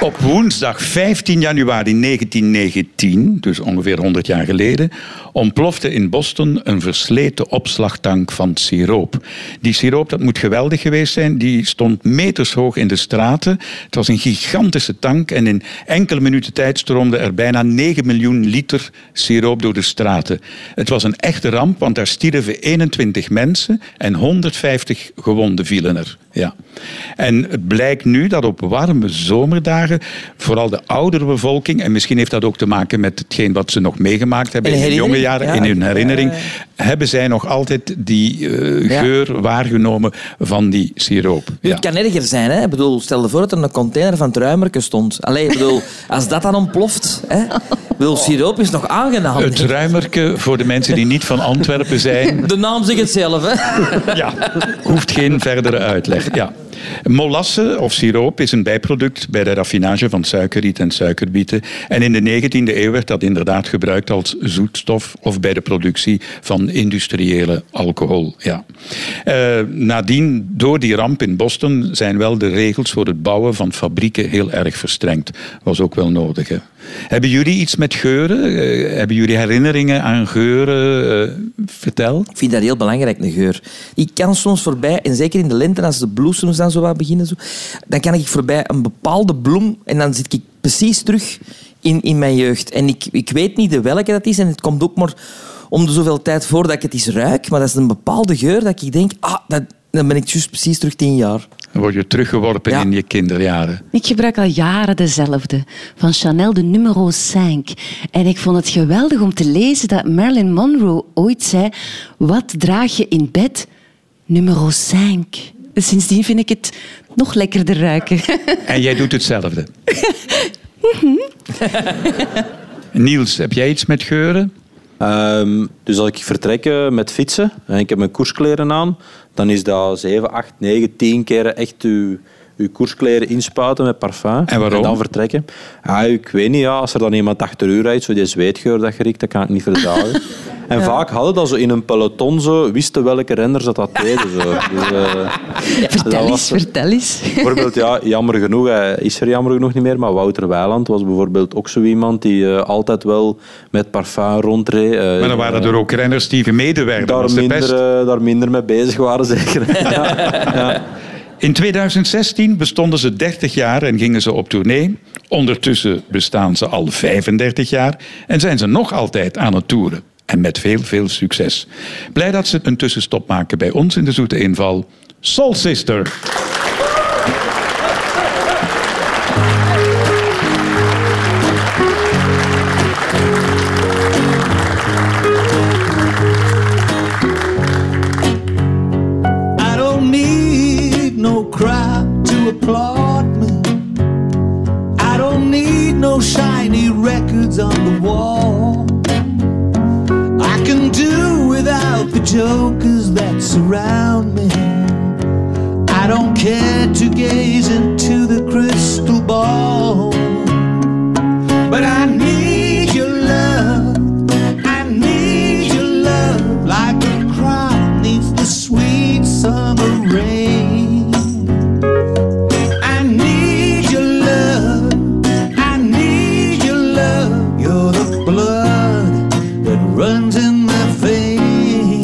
Speaker 2: Op Woensdag 15 januari 1919, dus ongeveer 100 jaar geleden, ontplofte in Boston een versleten opslagtank van siroop. Die siroop, dat moet geweldig geweest zijn, die stond metershoog in de straten. Het was een gigantische tank en in enkele minuten tijd stroomde er bijna 9 miljoen liter siroop door de straten. Het was een echte ramp, want daar stierven 21 mensen en 150 gewonden vielen er. Ja. En het blijkt nu dat op warme zomerdagen vooral de oudere bevolking, en misschien heeft dat ook te maken met hetgeen wat ze nog meegemaakt hebben
Speaker 4: In
Speaker 2: in
Speaker 4: de
Speaker 2: hun jonge
Speaker 4: herinnering,
Speaker 2: jaren,
Speaker 4: ja.
Speaker 2: in hun herinnering,
Speaker 4: Ja,
Speaker 2: hebben zij nog altijd die eh,
Speaker 4: Ja.
Speaker 2: geur waargenomen van die siroop.
Speaker 4: Nu,
Speaker 2: Ja.
Speaker 4: Het kan erger zijn. Hè? Ik bedoel, stel je voor dat er een container van truimerken stond. Allee, ik bedoel, als dat dan ontploft... Hè? Ik bedoel, siroop is nog aangenaam.
Speaker 2: Het ruimerke voor de mensen die niet van Antwerpen zijn,
Speaker 4: De naam zegt het zelf, hè?
Speaker 2: ja, hoeft geen verdere uitleg. Ja. Molasse of siroop is een bijproduct bij de raffinage van suikerriet en suikerbieten. En in de 19e eeuw werd dat inderdaad gebruikt als zoetstof of bij de productie van industriële alcohol. Ja. Eh, nadien, door die ramp in Boston, zijn wel de regels voor het bouwen van fabrieken heel erg verstrengd. Was ook wel nodig. Hè. Hebben jullie iets met geuren? Eh, hebben jullie herinneringen aan geuren? Eh, vertel.
Speaker 4: Ik vind dat heel belangrijk, een geur. Ik kan soms voorbij, en zeker in de lente, als de bloesems dan zo wat beginnen, zo, dan kan ik voorbij een bepaalde bloem en dan zit ik precies terug in, in mijn jeugd. En ik, ik weet niet de welke dat is en het komt ook maar om de zoveel tijd voor dat ik het eens ruik, maar dat is een bepaalde geur dat ik denk, ah, dat, dan ben ik juist precies terug tien jaar.
Speaker 2: Dan word je teruggeworpen
Speaker 4: Ja.
Speaker 2: in je kinderjaren.
Speaker 5: Ik gebruik al jaren dezelfde. Van Chanel de numero 5. En ik vond het geweldig om te lezen dat Marilyn Monroe ooit zei... Wat draag je in bed? Numero 5. Sindsdien vind ik het nog lekkerder ruiken.
Speaker 2: En jij doet hetzelfde.
Speaker 3: Mhm.
Speaker 2: Niels, heb jij iets met geuren?
Speaker 3: Ehm, dus als ik vertrek eh, met fietsen en ik heb mijn koerskleren aan, dan is dat 7, 8, 9, 10 keer echt uw, uw koerskleren inspuiten met parfum.
Speaker 2: En waarom?
Speaker 3: dan vertrekken. Ja, ik weet niet, ja, als er dan iemand achter u rijdt, zo die zweetgeur dat je riekt, dat kan ik niet verdragen. En vaak hadden dat zo in een peloton, zo, wisten welke renners dat, dat deden. Zo. Dus, eh, dat
Speaker 5: vertel
Speaker 3: was
Speaker 5: eens,
Speaker 3: het.
Speaker 5: vertel eens.
Speaker 3: Bijvoorbeeld, ja, jammer genoeg, hij is er jammer genoeg niet meer, maar Wouter Weiland was bijvoorbeeld ook zo iemand die eh, altijd wel met parfum rondreed. eh,
Speaker 2: Maar dan waren er ook renners die medewerkten.
Speaker 3: daar
Speaker 2: was de
Speaker 3: minder,
Speaker 2: pest.
Speaker 3: eh, daar minder mee bezig waren, zeker. ja.
Speaker 2: In 2016 bestonden ze 30 jaar en gingen ze op tournee. Ondertussen bestaan ze al 35 jaar en zijn ze nog altijd aan het toeren. En met veel, veel succes. Blij dat ze een tussenstop maken bij ons in de zoete inval. Soul Sister.
Speaker 7: I don't need no crowd to applaud me. I don't need no shiny records on the wall. I can do without the jokers that surround me. I don't care to gaze into the crystal ball. But I need your love. I need your love like a crowd needs the sweet summer rain. I need your love. I need your love. You're the blood that runs in my veins.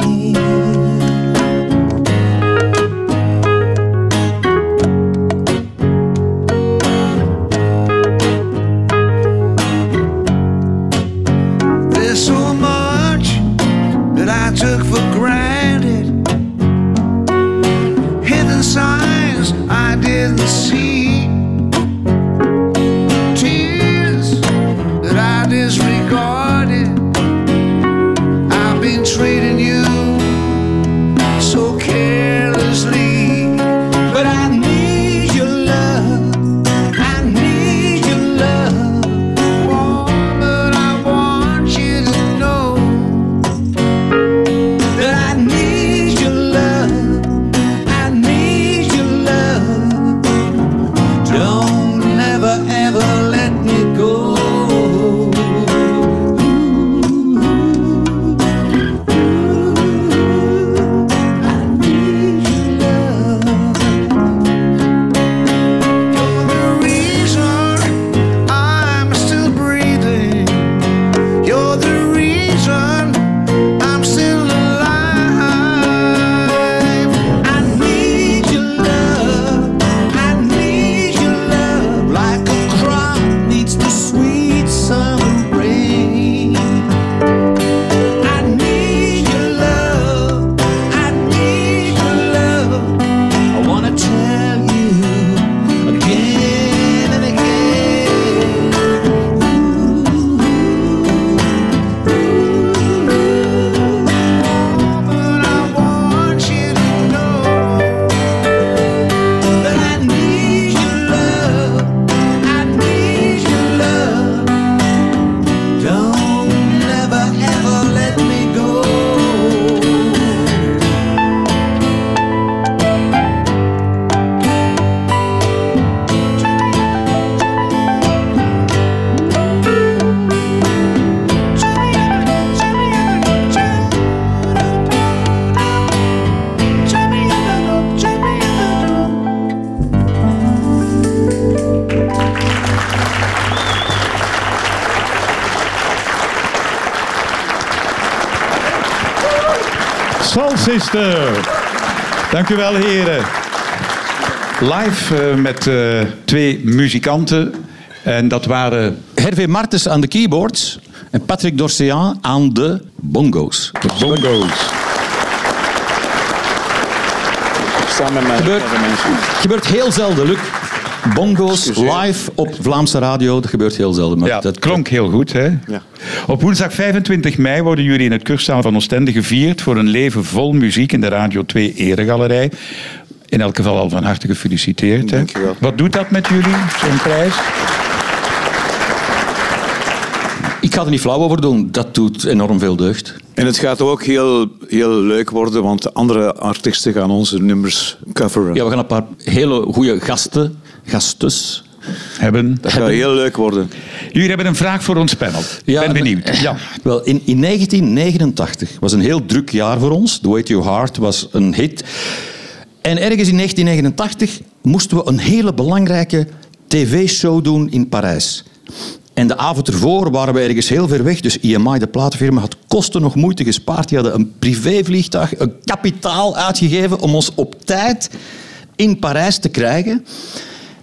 Speaker 2: Soul Sister. Dank u wel, heren. Live eh, met eh, twee muzikanten. En dat waren
Speaker 8: Hervé Martens aan de keyboards en Patrick Dorsean aan de bongo's.
Speaker 2: de bongo's.
Speaker 9: Samen met
Speaker 8: Gebeurt.
Speaker 9: mensen.
Speaker 8: Gebeurt heel zelden, Luc. Bongo's live op Vlaamse radio, dat gebeurt heel zelden. Maar
Speaker 2: Ja,
Speaker 8: dat
Speaker 2: dat klonk heel goed. Hè?
Speaker 9: Ja.
Speaker 2: Op woensdag 25 mei worden jullie in het Kurszaal van Oostende gevierd voor een leven vol muziek in de Radio 2 Eregalerij. In elk geval al van harte gefeliciteerd. Hè?
Speaker 9: Dankjewel.
Speaker 2: Wat doet dat met jullie, zo'n prijs?
Speaker 8: Ik ga er niet flauw over doen, dat doet enorm veel deugd.
Speaker 9: En het gaat ook heel, heel leuk worden, want andere artiesten gaan onze nummers coveren.
Speaker 8: Ja, we gaan een paar hele goede gasten, gastes.
Speaker 2: Hebben.
Speaker 9: dat gaat heel leuk worden.
Speaker 2: Jullie hebben een vraag voor ons panel. Ik
Speaker 8: Ja,
Speaker 2: ben benieuwd.
Speaker 8: Ja. Wel, in, in 1989 was een heel druk jaar voor ons. The Way to Your Heart was een hit. En ergens in 1989 moesten we een hele belangrijke tv-show doen in Parijs. En de avond ervoor waren we ergens heel ver weg. Dus IMI, de platenfirma, had kosten nog moeite gespaard. Die hadden een privévliegtuig, een kapitaal uitgegeven om ons op tijd in Parijs te krijgen.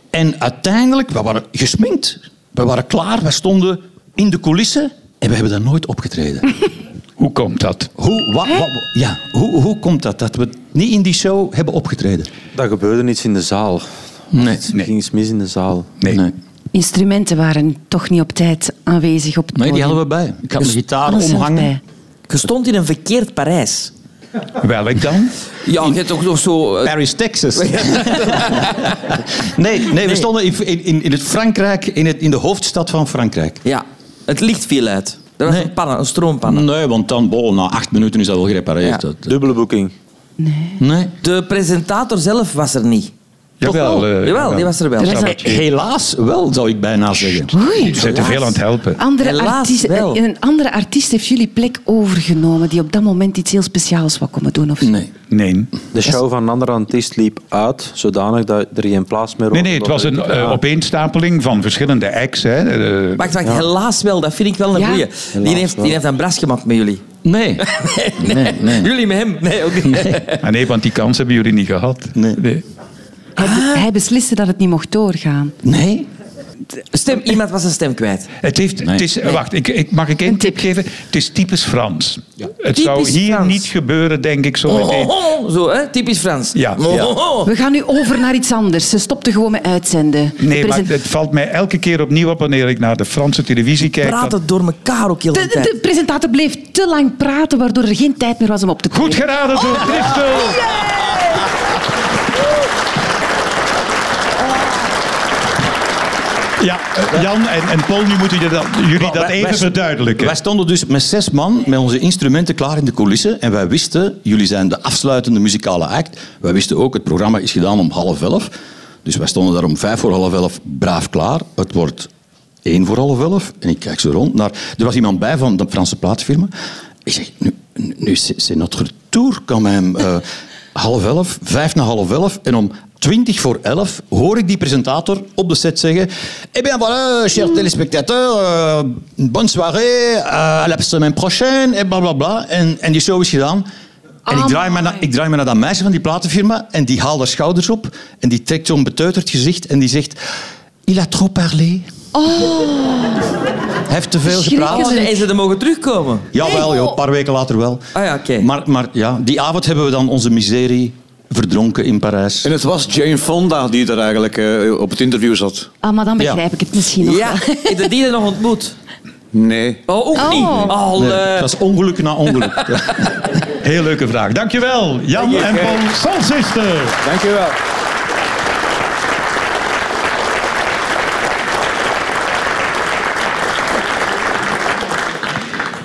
Speaker 8: En uiteindelijk, we waren gesminkt. We waren klaar, we stonden in de coulissen en we hebben daar nooit opgetreden.
Speaker 2: Hoe komt dat?
Speaker 8: hoe, wa, wa- ja, hoe, hoe komt dat, dat we niet in die show hebben opgetreden?
Speaker 3: Dat gebeurde iets in de zaal.
Speaker 8: Nee.
Speaker 3: Er ging iets mis in de zaal.
Speaker 2: Nee.
Speaker 5: Instrumenten waren toch niet op tijd aanwezig op het
Speaker 8: Nee, die
Speaker 5: podium.
Speaker 8: hadden we bij. Ik had mijn gitaar
Speaker 5: Alles zat
Speaker 8: omhangen.
Speaker 5: bij.
Speaker 4: Je stond in een verkeerd Parijs.
Speaker 2: Welk dan?
Speaker 4: Ja, je hebt toch nog zo... eh,
Speaker 8: Paris, Texas. nee, nee, we stonden in, in, in het Frankrijk, in, het, in de hoofdstad van Frankrijk.
Speaker 4: ja, het licht viel uit. Er was
Speaker 8: Nee.
Speaker 4: een pannen, een stroompanne.
Speaker 8: Ah, Nee, want dan, bo, na acht minuten is dat wel gerepareerd.
Speaker 4: Ja.
Speaker 8: Dat- eh.
Speaker 3: Dubbele boeking.
Speaker 8: nee.
Speaker 4: De presentator zelf was er niet.
Speaker 2: Jawel. eh,
Speaker 4: Jawel, die was er wel.
Speaker 5: Er was
Speaker 2: Sabbatje.
Speaker 8: Helaas wel, zou ik bijna zeggen.
Speaker 5: Oei.
Speaker 2: Je bent te veel aan het helpen.
Speaker 4: Ah.
Speaker 5: Andere
Speaker 4: Helaas
Speaker 5: artiest,
Speaker 4: wel.
Speaker 5: een andere artiest heeft jullie plek overgenomen die op dat moment iets heel speciaals wou komen doen. Of...
Speaker 8: Nee.
Speaker 2: Nee.
Speaker 3: De show van een andere artiest liep uit, zodanig dat er geen plaats meer
Speaker 2: Nee,
Speaker 3: was.
Speaker 2: nee, het was een
Speaker 3: Ja.
Speaker 2: eh, opeenstapeling van verschillende acts. Hè. Eh,
Speaker 4: Wacht, wacht, helaas wel. Dat vind ik wel een
Speaker 5: Ja.
Speaker 4: goeie. Die heeft, die heeft een bras gemaakt met jullie.
Speaker 8: Nee. nee, nee.
Speaker 4: Jullie met hem? Nee, ook niet.
Speaker 2: ah, nee, want die kans hebben jullie niet gehad.
Speaker 8: Nee.
Speaker 5: Hij,
Speaker 4: Ah.
Speaker 5: hij besliste dat het niet mocht doorgaan.
Speaker 8: Nee?
Speaker 4: Stem, iemand was zijn stem kwijt.
Speaker 2: Het heeft, het is, eh, Wacht, ik, ik, mag ik één tip geven? Het is typisch Frans. Het zou
Speaker 4: Typisch
Speaker 2: hier
Speaker 4: Frans.
Speaker 2: niet gebeuren, denk ik, zo
Speaker 4: Oh,
Speaker 2: meteen.
Speaker 4: oh, oh, zo, hè? typisch Frans.
Speaker 2: Ja.
Speaker 4: Oh, oh, oh.
Speaker 5: We gaan nu over naar iets anders. Ze stopte gewoon met uitzenden. De
Speaker 2: Nee, maar
Speaker 5: present-
Speaker 2: het valt mij elke keer opnieuw op wanneer ik naar de Franse televisie kijk.
Speaker 4: Praat
Speaker 2: dat-
Speaker 4: het door elkaar ook heel de
Speaker 5: de, de,
Speaker 4: tijd.
Speaker 5: de presentator bleef te lang praten, waardoor er geen tijd meer was om op te
Speaker 2: Goed
Speaker 5: treden.
Speaker 2: geraden door Christel! Ja, eh, Jan en, en Paul, nu moeten jullie dat, jullie dat
Speaker 8: Wij-
Speaker 2: even
Speaker 8: wij-
Speaker 2: verduidelijken.
Speaker 8: Wij stonden dus met zes man met onze instrumenten klaar in de coulissen. En wij wisten, jullie zijn de afsluitende muzikale act. Wij wisten ook, het programma is gedaan om half elf. Dus wij stonden daar om vijf voor half elf braaf klaar. Het wordt één voor half elf. En ik kijk zo rond. Naar, er was iemand bij van de Franse plaatfirma. Ik zeg, nu, nu c'est c'est notre tour quand même. Eh, half elf, vijf na half elf. En om twintig voor elf hoor ik die presentator op de set zeggen... Eh bien voilà, chers téléspectateurs, eh, bonne soirée, eh, à la semaine prochaine, en blablabla. En, en die show is gedaan. En ik draai, me naar, ik draai me naar dat meisje van die platenfirma en die haalt haar schouders op en die trekt zo'n beteuterd gezicht en die zegt... Il a trop parlé. Hij heeft te veel
Speaker 4: Praat.
Speaker 8: gepraat.
Speaker 4: En ze er mogen terugkomen.
Speaker 8: Jawel, joh, een paar weken later wel.
Speaker 4: Ah ja, oké.
Speaker 8: Maar, maar ja, die avond hebben we dan onze miserie verdronken in Parijs.
Speaker 9: En het was Jane Fonda die er eigenlijk eh, op het interview zat.
Speaker 5: Ah, maar dan
Speaker 8: Ja.
Speaker 5: begrijp ik het misschien nog
Speaker 4: Ja,
Speaker 5: wel.
Speaker 4: heb je die er nog ontmoet?
Speaker 9: Nee.
Speaker 4: Oh, ook
Speaker 5: Oh.
Speaker 4: niet. Al,
Speaker 8: Nee,
Speaker 4: eh,
Speaker 8: het was ongeluk na ongeluk. Ja.
Speaker 2: Heel leuke vraag. Dankjewel, Jan en Paul Solsister.
Speaker 9: Dankjewel.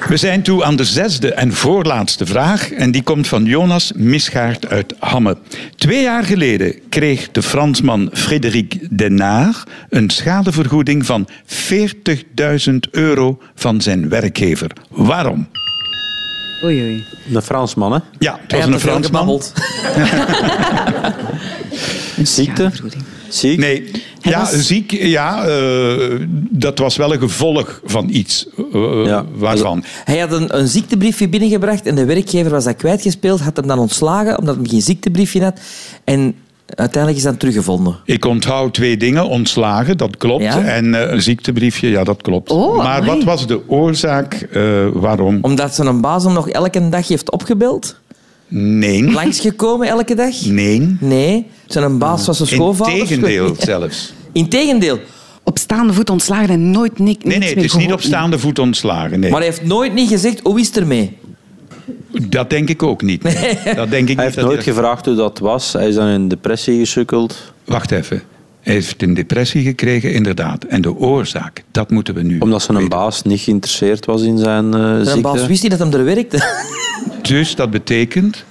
Speaker 2: We zijn toe aan de zesde en voorlaatste vraag. En die komt van Jonas Misgaard uit Hamme. Twee jaar geleden kreeg de Fransman Frédéric Denard een schadevergoeding van 40.000 euro van zijn werkgever. Waarom?
Speaker 5: Oei, oei.
Speaker 3: Een Fransman, hè?
Speaker 2: Ja, het
Speaker 4: hij
Speaker 2: was
Speaker 4: had
Speaker 2: een
Speaker 4: te veel
Speaker 2: Fransman.
Speaker 4: gebabbeld.
Speaker 5: Een
Speaker 3: Ziekte?
Speaker 5: schadevergoeding.
Speaker 3: Ziek?
Speaker 2: Nee,
Speaker 5: Hij
Speaker 2: ja,
Speaker 5: was-
Speaker 2: ziek, ja, eh, dat was wel een gevolg van iets. eh,
Speaker 3: Ja.
Speaker 2: Waarvan?
Speaker 4: Hij had een, een ziektebriefje binnengebracht en de werkgever was dat kwijtgespeeld, had hem dan ontslagen omdat hij geen ziektebriefje had. En uiteindelijk is dat teruggevonden.
Speaker 2: Ik onthoud twee dingen. Ontslagen, dat klopt.
Speaker 4: Ja.
Speaker 2: En eh, een ziektebriefje, ja, dat klopt.
Speaker 5: Oh,
Speaker 2: maar
Speaker 5: amai.
Speaker 2: wat was de oorzaak eh, waarom?
Speaker 4: Omdat zijn baas hem nog elke dag heeft opgebeld,
Speaker 2: Nee.
Speaker 4: langsgekomen elke dag.
Speaker 2: Nee.
Speaker 4: Nee, zijn baas was een schoonvader.
Speaker 2: Integendeel zelfs.
Speaker 4: Integendeel.
Speaker 5: op staande voet ontslagen en nooit ni- niks
Speaker 2: Nee, nee,
Speaker 5: meer
Speaker 2: het is niet
Speaker 5: gehoord.
Speaker 2: op staande voet ontslagen. Nee.
Speaker 4: Maar hij heeft nooit niet gezegd, hoe is het ermee?
Speaker 2: Dat denk ik ook niet. Dat denk ik
Speaker 3: Hij
Speaker 2: niet
Speaker 3: heeft
Speaker 2: dat
Speaker 3: nooit
Speaker 2: hij dat-
Speaker 3: gevraagd hoe dat was. Hij is dan in depressie gesukkeld.
Speaker 2: Wacht even. Hij heeft een depressie gekregen, inderdaad. En de oorzaak, dat moeten we nu.
Speaker 3: Omdat zijn
Speaker 2: weten.
Speaker 3: baas niet geïnteresseerd was in zijn eh,
Speaker 4: Zijn
Speaker 3: ziekte.
Speaker 4: baas wist niet dat hem er werkte.
Speaker 2: Dus dat betekent,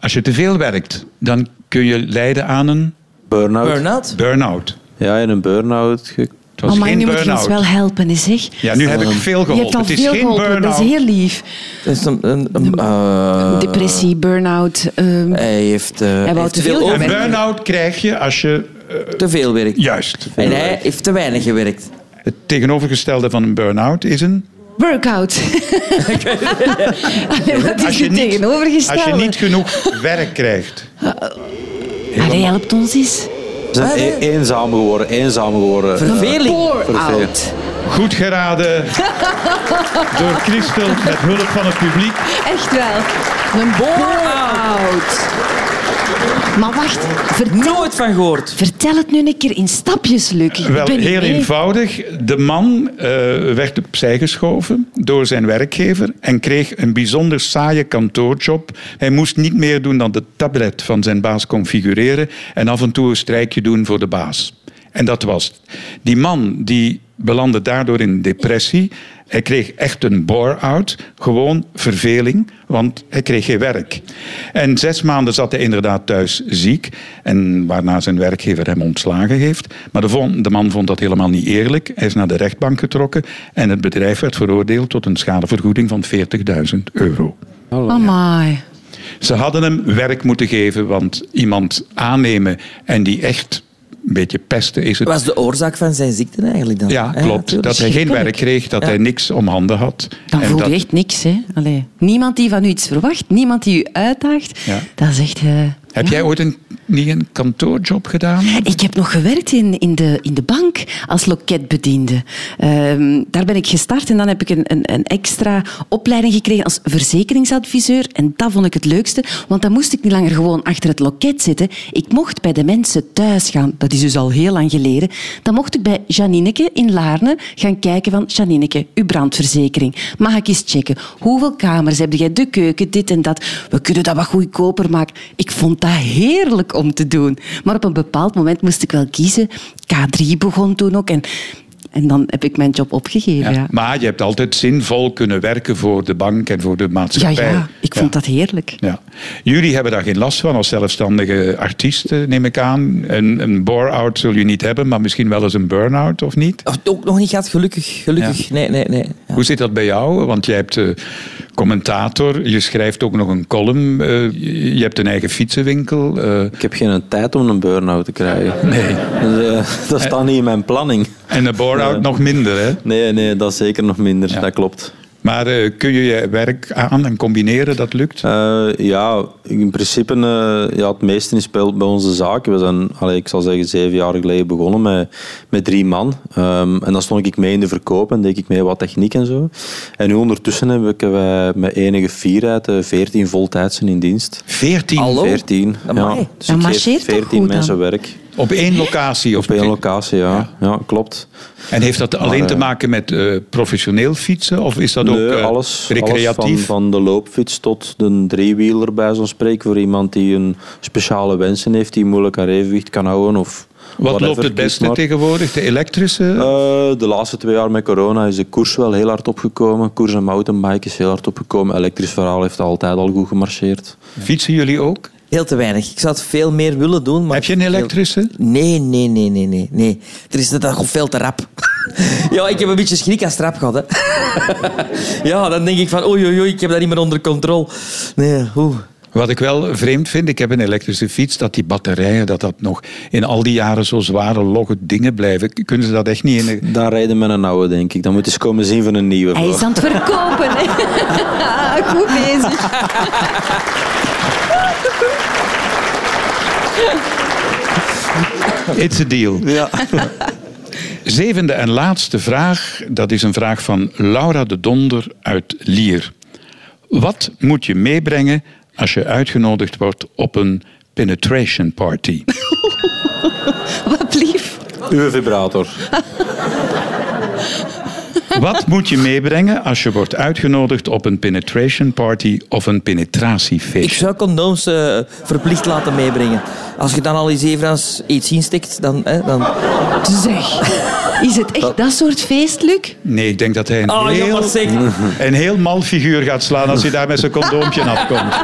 Speaker 2: als je te veel werkt, dan kun je lijden aan een
Speaker 3: Burn-out.
Speaker 4: Burn-out.
Speaker 2: burn-out.
Speaker 3: Ja, in een burn-out. ge-
Speaker 2: Het was
Speaker 5: Oh, maar
Speaker 2: geen
Speaker 5: nu moet je ons
Speaker 2: burn-out.
Speaker 5: wel helpen, hè, zeg.
Speaker 2: Ja, nu heb ik
Speaker 4: Ehm,
Speaker 2: veel
Speaker 5: Je hebt
Speaker 2: geholpen.
Speaker 5: al
Speaker 2: Het is
Speaker 5: veel
Speaker 2: geen
Speaker 5: geholpen, dat
Speaker 2: burn-out.
Speaker 5: is heel lief.
Speaker 4: Dat is Dus een, een, een, eh,
Speaker 5: Depressie, burn-out. ehm,
Speaker 4: Hij heeft, eh,
Speaker 5: wou
Speaker 4: heeft
Speaker 5: te veel gaan
Speaker 4: over-
Speaker 2: Een
Speaker 5: werken.
Speaker 2: burn-out krijg je als je... eh,
Speaker 4: te veel werkt.
Speaker 2: juist.
Speaker 4: En hij heeft te weinig gewerkt.
Speaker 2: Het tegenovergestelde van een burn-out is een...
Speaker 5: Workout. Allee, Wat is je tegenovergestelde?
Speaker 2: als je niet genoeg werk krijgt.
Speaker 5: Allee, helpt ons eens.
Speaker 3: Ze zijn
Speaker 4: Ah, nee.
Speaker 3: e- eenzaam geworden. Eenzaam geworden.
Speaker 4: Verveling.
Speaker 5: Pour-out.
Speaker 2: Goed geraden door Christel met hulp van het publiek.
Speaker 5: Echt wel.
Speaker 4: Een burn-out.
Speaker 5: Pour-out. Maar wacht, vertel,
Speaker 4: Nooit van gehoord.
Speaker 5: vertel het nu een keer in stapjes, Luc. Ik
Speaker 2: Wel,
Speaker 5: ben niet
Speaker 2: heel
Speaker 5: mee.
Speaker 2: eenvoudig. De man eh, werd opzij geschoven door zijn werkgever en kreeg een bijzonder saaie kantoorjob. Hij moest niet meer doen dan de tablet van zijn baas configureren en af en toe een strijkje doen voor de baas. En dat was het. Die man die belandde daardoor in depressie. Hij kreeg echt een bore-out, gewoon verveling, want hij kreeg geen werk. En zes maanden zat hij inderdaad thuis ziek, en waarna zijn werkgever hem ontslagen heeft. Maar de, von- de man vond dat helemaal niet eerlijk. Hij is naar de rechtbank getrokken en het bedrijf werd veroordeeld tot een schadevergoeding van 40.000 euro.
Speaker 5: Oh, Amai.
Speaker 2: Ze hadden hem werk moeten geven, want iemand aannemen en die echt een beetje pesten is het
Speaker 4: was de oorzaak van zijn ziekte eigenlijk dan?
Speaker 2: ja,
Speaker 4: Hè,
Speaker 2: klopt.
Speaker 4: natuurlijk.
Speaker 2: dat hij geen werk kreeg, dat
Speaker 4: Ja.
Speaker 2: hij niks om handen had.
Speaker 5: Dan
Speaker 2: En
Speaker 5: voel
Speaker 2: dat-
Speaker 5: je echt niks, hè. Allee. Niemand die van u iets verwacht, niemand die u uitdaagt.
Speaker 2: Ja.
Speaker 5: Dat is echt... eh,
Speaker 2: Heb
Speaker 5: ja.
Speaker 2: jij ooit een, niet een kantoorjob gedaan?
Speaker 5: Ik heb nog gewerkt in, in, de, in de bank als loketbediende. Ehm, daar ben ik gestart en dan heb ik een, een, een extra opleiding gekregen als verzekeringsadviseur. En dat vond ik het leukste, want dan moest ik niet langer gewoon achter het loket zitten. Ik mocht bij de mensen thuis gaan. Dat is dus al heel lang geleden. Dan mocht ik bij Janineke in Laarne gaan kijken van Janineke, uw brandverzekering. Mag ik eens checken? Hoeveel kamers heb jij? De keuken, dit en dat. We kunnen dat wat goedkoper maken. Ik vond dat heerlijk om te doen. Maar op een bepaald moment moest ik wel kiezen. K3 begon toen ook. En, en dan heb ik mijn job opgegeven. Ja, ja.
Speaker 2: Maar je hebt altijd zinvol kunnen werken voor de bank en voor de
Speaker 5: ja,
Speaker 2: maatschappij.
Speaker 5: ik vond dat heerlijk.
Speaker 2: Ja. Jullie hebben daar geen last van als zelfstandige artiesten, neem ik aan. Een, een bore-out zul je niet hebben, maar misschien wel eens een burn-out of niet?
Speaker 5: Oh,
Speaker 4: Of het Ook nog niet gaat, gelukkig. gelukkig.
Speaker 2: Ja.
Speaker 4: Nee, nee, nee. Ja.
Speaker 2: Hoe zit dat bij jou? Want jij hebt eh, commentator, je schrijft ook nog een column, eh, je- je hebt een eigen fietsenwinkel. eh,
Speaker 3: Ik heb geen tijd om een burn-out te krijgen. Nee. dat staat niet in mijn planning.
Speaker 2: en een bore-out
Speaker 3: Ja.
Speaker 2: nog minder, hè?
Speaker 3: Nee, nee, dat is zeker nog minder.
Speaker 2: Ja.
Speaker 3: Dat klopt.
Speaker 2: Maar eh, kun je je werk aan en combineren, dat lukt?
Speaker 3: Eh, ja, in principe, eh, ja, het meeste is bij, bij onze zaak. We zijn, allee, ik zal zeggen, zeven jaar geleden begonnen met, met drie man. Ehm, en dan stond ik mee in de verkoop en deed ik mee wat techniek en zo. En nu ondertussen heb ik eh, met enige fierheid eh, 14 voltijdsen in dienst.
Speaker 2: 14
Speaker 4: Hallo?
Speaker 3: 14.
Speaker 4: Amai.
Speaker 3: Ja. Dus
Speaker 5: Dan
Speaker 3: ik geef
Speaker 5: marcheert toch
Speaker 3: 14
Speaker 5: goed
Speaker 3: mensen
Speaker 5: dan?
Speaker 3: werk.
Speaker 2: op één locatie. Of
Speaker 3: Op één locatie, ja. ja. klopt.
Speaker 2: En heeft dat alleen
Speaker 3: Maar,
Speaker 2: te
Speaker 3: eh,
Speaker 2: maken met eh, professioneel fietsen? Of is dat
Speaker 3: Nee,
Speaker 2: ook eh,
Speaker 3: alles,
Speaker 2: recreatief?
Speaker 3: alles van, van de loopfiets tot de driewieler bij zo'n spreek. Voor iemand die een speciale wensen heeft, die moeilijk aan evenwicht kan houden. Of
Speaker 2: Wat
Speaker 3: whatever,
Speaker 2: loopt het
Speaker 3: kies
Speaker 2: beste
Speaker 3: maar.
Speaker 2: tegenwoordig? De elektrische?
Speaker 3: Eh, de laatste twee jaar met corona is de koers wel heel hard opgekomen. Koers en mountainbike is heel hard opgekomen. Elektrisch verhaal heeft altijd al goed gemarcheerd.
Speaker 2: Fietsen jullie ook?
Speaker 4: Heel te weinig. Ik zou het veel meer willen doen. Maar
Speaker 2: Heb je een elektrische?
Speaker 4: Nee, nee, nee, nee, nee. nee. Er is dat gewoon veel te rap. ja, ik heb een beetje schrik als het rap gehad. Hè. ja, dan denk ik van oei, oei, oei, ik heb dat niet meer onder controle. Nee, oeh.
Speaker 2: Wat ik wel vreemd vind, ik heb een elektrische fiets, dat die batterijen, dat dat nog in al die jaren zo zware, logge dingen blijven. K- Kunnen ze dat echt niet in... de-
Speaker 3: Daar rijden met een oude, denk ik. Dan moet je eens komen zien van een nieuwe.
Speaker 5: Hij is aan het verkopen. hè. Goed bezig.
Speaker 2: It's a deal. Zevende en laatste vraag, dat is een vraag van Laura de Donder uit Lier. Wat moet je meebrengen als je uitgenodigd wordt op een penetration party?
Speaker 5: Wat lief.
Speaker 3: Uw vibrator.
Speaker 2: Wat moet je meebrengen als je wordt uitgenodigd op een penetration party of een penetratiefeest?
Speaker 4: Ik zou condooms eh, verplicht laten meebrengen. Als je dan al eens even als iets instikt, dan... Hè, dan... Ah,
Speaker 5: Zeg, is het echt dat soort feest, Luc?
Speaker 2: Nee, ik denk dat hij een,
Speaker 4: Oh,
Speaker 2: heel,
Speaker 4: jammer zeg.
Speaker 2: een heel mal figuur gaat slaan als hij daar met zijn condoompje afkomt.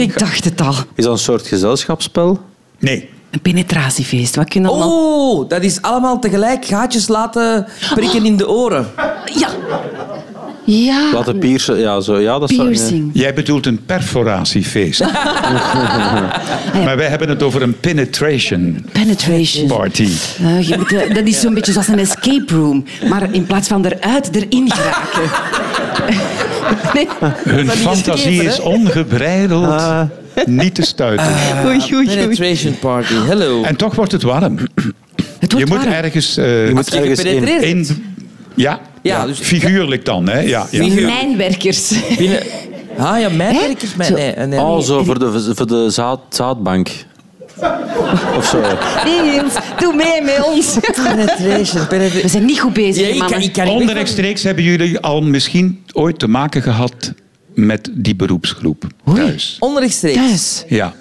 Speaker 5: Ik dacht het al.
Speaker 3: Is dat een soort gezelschapsspel?
Speaker 2: Nee.
Speaker 5: Een penetratiefeest. Wat kunnen allemaal...
Speaker 4: Oh, dat is allemaal tegelijk gaatjes laten prikken in de oren.
Speaker 5: Ja. Ja.
Speaker 3: Laten piercen. Ja, zo. Ja, dat zou-
Speaker 5: Ah, Piercing.
Speaker 2: Jij bedoelt een perforatiefeest. maar wij hebben het over een penetration
Speaker 5: Penetration.
Speaker 2: party.
Speaker 5: Eh, je moet, eh, dat is zo'n beetje zoals een escape room. Maar in plaats van eruit, erin geraken. Nee.
Speaker 2: Hun fantasie
Speaker 4: gegeven,
Speaker 2: is
Speaker 4: hè?
Speaker 2: ongebreideld. Niet te stuiten.
Speaker 5: Oei, oei, oei.
Speaker 4: Penetration party, hello.
Speaker 2: En toch wordt het warm.
Speaker 5: Het
Speaker 2: Je
Speaker 5: wordt
Speaker 2: moet
Speaker 5: warm.
Speaker 2: ergens... eh,
Speaker 3: Je moet
Speaker 4: je
Speaker 3: ergens in.
Speaker 4: gepenetreerd
Speaker 2: in, ja,
Speaker 4: Ja, dus-
Speaker 2: figuurlijk dan. Hè? Ja, ja.
Speaker 4: Figuur-
Speaker 5: Mijnwerkers.
Speaker 4: Binnen... Ah ja, mijn werk is mijn...
Speaker 5: Zo-
Speaker 4: Nee, nee, nee.
Speaker 3: Oh, zo voor de, voor de zaad, zaadbank. Of zo.
Speaker 5: Nee, Niels, doe mee met ons.
Speaker 4: Penetration,
Speaker 5: We
Speaker 4: penetration.
Speaker 5: zijn niet goed
Speaker 4: Ja,
Speaker 5: bezig,
Speaker 4: ik kan,
Speaker 5: mannen.
Speaker 4: ik kan niet weg van-
Speaker 2: Onrechtstreeks hebben jullie al misschien ooit te maken gehad met die beroepsgroep thuis.
Speaker 4: Onrechtstreeks.
Speaker 5: Thuis.
Speaker 2: Ja.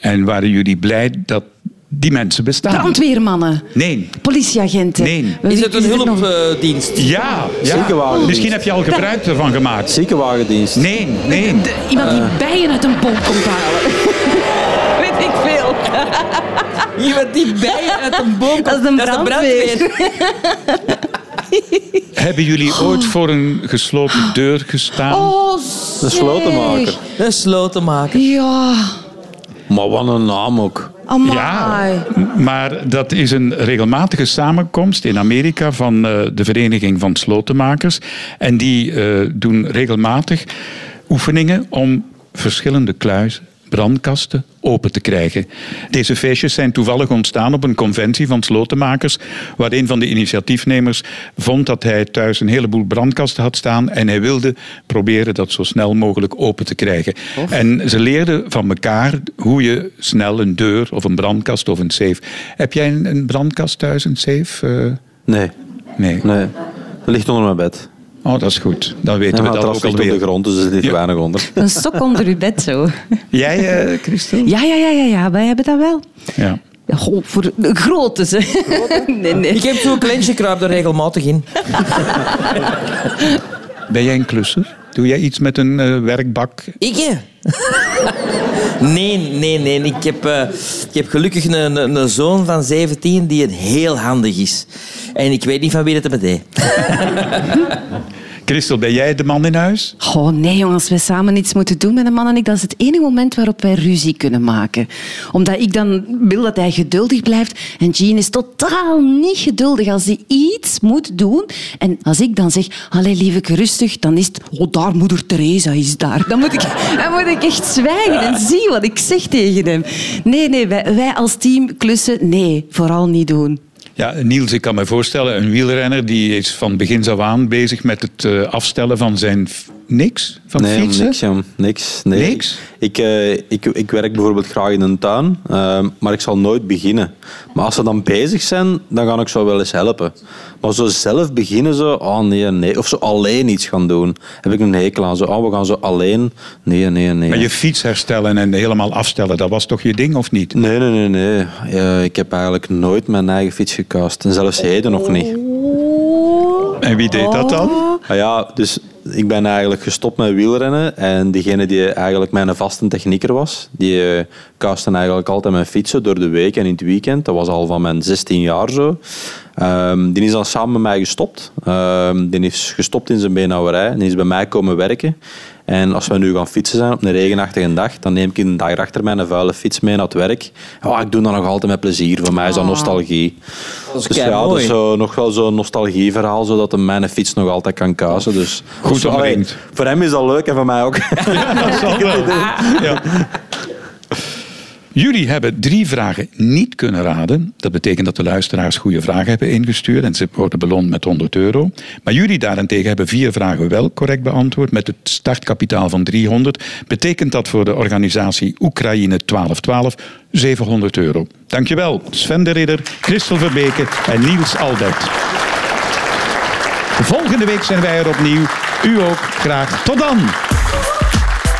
Speaker 2: En waren jullie blij dat die mensen bestaan?
Speaker 5: Brandweermannen.
Speaker 2: Nee.
Speaker 5: Politieagenten.
Speaker 2: Nee.
Speaker 5: We
Speaker 4: Is het
Speaker 5: weten
Speaker 4: een
Speaker 5: er nog-
Speaker 4: hulpdienst?
Speaker 2: Ja, ja.
Speaker 3: Ziekenwagendienst.
Speaker 2: misschien heb je al gebruik ervan gemaakt.
Speaker 3: Ziekenwagendienst.
Speaker 2: Nee, nee.
Speaker 5: De-
Speaker 4: eh,
Speaker 5: iemand die bijen uit een pomp komt halen. Weet ik veel.
Speaker 4: Iemand die bijen uit een boom komt.
Speaker 5: Dat is een brandweer.
Speaker 2: Hebben jullie ooit voor een gesloten deur gestaan?
Speaker 5: Oh,
Speaker 3: Een slotenmaker.
Speaker 5: zeg.
Speaker 4: Een slotenmaker.
Speaker 5: Ja,
Speaker 3: Maar wat een naam ook.
Speaker 5: amai.
Speaker 2: Ja, m- maar dat is een regelmatige samenkomst in Amerika van eh, de Vereniging van Slotenmakers. En die eh, doen regelmatig oefeningen om verschillende kluizen, brandkasten, open te krijgen. Deze feestjes zijn toevallig ontstaan op een conventie van slotenmakers, waar een van de initiatiefnemers vond dat hij thuis een heleboel brandkasten had staan en hij wilde proberen dat zo snel mogelijk open te krijgen. En ze leerden van elkaar hoe je snel een deur of een brandkast of een safe... Heb jij een, een brandkast thuis, een safe? Eh,
Speaker 3: Nee,
Speaker 2: nee.
Speaker 3: nee. Dat ligt onder mijn bed.
Speaker 2: Oh, dat is goed. Dan weten
Speaker 3: En
Speaker 2: we
Speaker 3: het
Speaker 2: dat
Speaker 3: ras
Speaker 2: ook
Speaker 3: ligt op de
Speaker 2: alweer.
Speaker 3: grond, dus er zit
Speaker 2: Ja.
Speaker 3: weinig onder.
Speaker 5: Een stok onder uw bed zo.
Speaker 2: Jij, eh, Christel?
Speaker 5: Ja, ja, ja, ja, ja, wij hebben dat wel.
Speaker 2: Ja.
Speaker 5: Ja, goh, voor de grote, ze. Nee, nee.
Speaker 4: Ik heb zo'n klentje, kruip er regelmatig in.
Speaker 2: Ben jij een klusser? Doe jij iets met een eh, werkbak?
Speaker 4: Ik? hè? nee, nee, nee. Ik heb, eh, ik heb gelukkig een, een, een zoon van 17 die een heel handig is. En ik weet niet van wie dat het deed.
Speaker 2: Christel, ben jij de man in huis?
Speaker 5: Goh, nee jongens, als wij samen iets moeten doen met een man en ik, dat is het enige moment waarop wij ruzie kunnen maken. Omdat ik dan wil dat hij geduldig blijft. En Jean is totaal niet geduldig als hij iets moet doen. En als ik dan zeg, allee lieveke, rustig, dan is het, oh daar, moeder Teresa is daar. Dan moet ik, dan moet ik echt zwijgen en zie wat ik zeg tegen hem. Nee, nee, wij, wij als team klussen, nee, vooral niet doen.
Speaker 2: Ja, Niels, ik kan me voorstellen, een wielrenner die is van begins af aan bezig met het eh, afstellen van zijn f- niks, van
Speaker 3: Nee,
Speaker 2: fietsen.
Speaker 3: niks, jong. Niks. Nee.
Speaker 2: Niks?
Speaker 3: Ik, eh, ik, ik werk bijvoorbeeld graag in een tuin, eh, maar ik zal nooit beginnen. Maar als ze dan bezig zijn, dan ga ik zo wel eens helpen. Maar zo zelf beginnen ze, oh nee, nee. Of zo alleen iets gaan doen. Heb ik een hekel aan. Zo, oh, we gaan zo alleen. Nee, nee, nee.
Speaker 2: Maar je fiets herstellen en helemaal afstellen, dat was toch je ding of niet?
Speaker 3: Nee, nee, nee, nee. Eh, ik heb eigenlijk nooit mijn eigen fiets gekuist. En zelfs heden nog niet.
Speaker 2: En wie deed dat dan?
Speaker 3: Ah ja, dus ik ben eigenlijk gestopt met wielrennen. En diegene die eigenlijk mijn vaste technieker was, die eh, kuiste eigenlijk altijd mijn fietsen door de week en in het weekend. Dat was al van mijn 16 jaar zo. Ehm, die is dan samen met mij gestopt. Ehm, die is gestopt in zijn beenhouwerij en die is bij mij komen werken. En als we nu gaan fietsen zijn op een regenachtige dag, dan neem ik een dag achter mij een vuile fiets mee naar het werk. Ja, ik doe dat nog altijd met plezier. Voor mij is dat nostalgie.
Speaker 4: Dat is
Speaker 3: dus ja, dat
Speaker 4: keimooi.
Speaker 3: is zo, nog wel zo'n nostalgieverhaal, zodat hij mijn fiets nog altijd kan kuisen. Dus,
Speaker 2: Goed
Speaker 3: Allee,
Speaker 2: omringd.
Speaker 3: Voor hem is dat leuk en voor mij ook.
Speaker 2: Jullie hebben drie vragen niet kunnen raden. Dat betekent dat de luisteraars goede vragen hebben ingestuurd en ze worden beloond met 100 euro. Maar jullie daarentegen hebben vier vragen wel correct beantwoord met het startkapitaal van 300. Betekent dat voor de organisatie Oekraïne 1212 700 euro. Dankjewel Sven de Ridder, Christel Verbeke en Niels Albert. Volgende week zijn wij er opnieuw. U ook graag. Tot dan!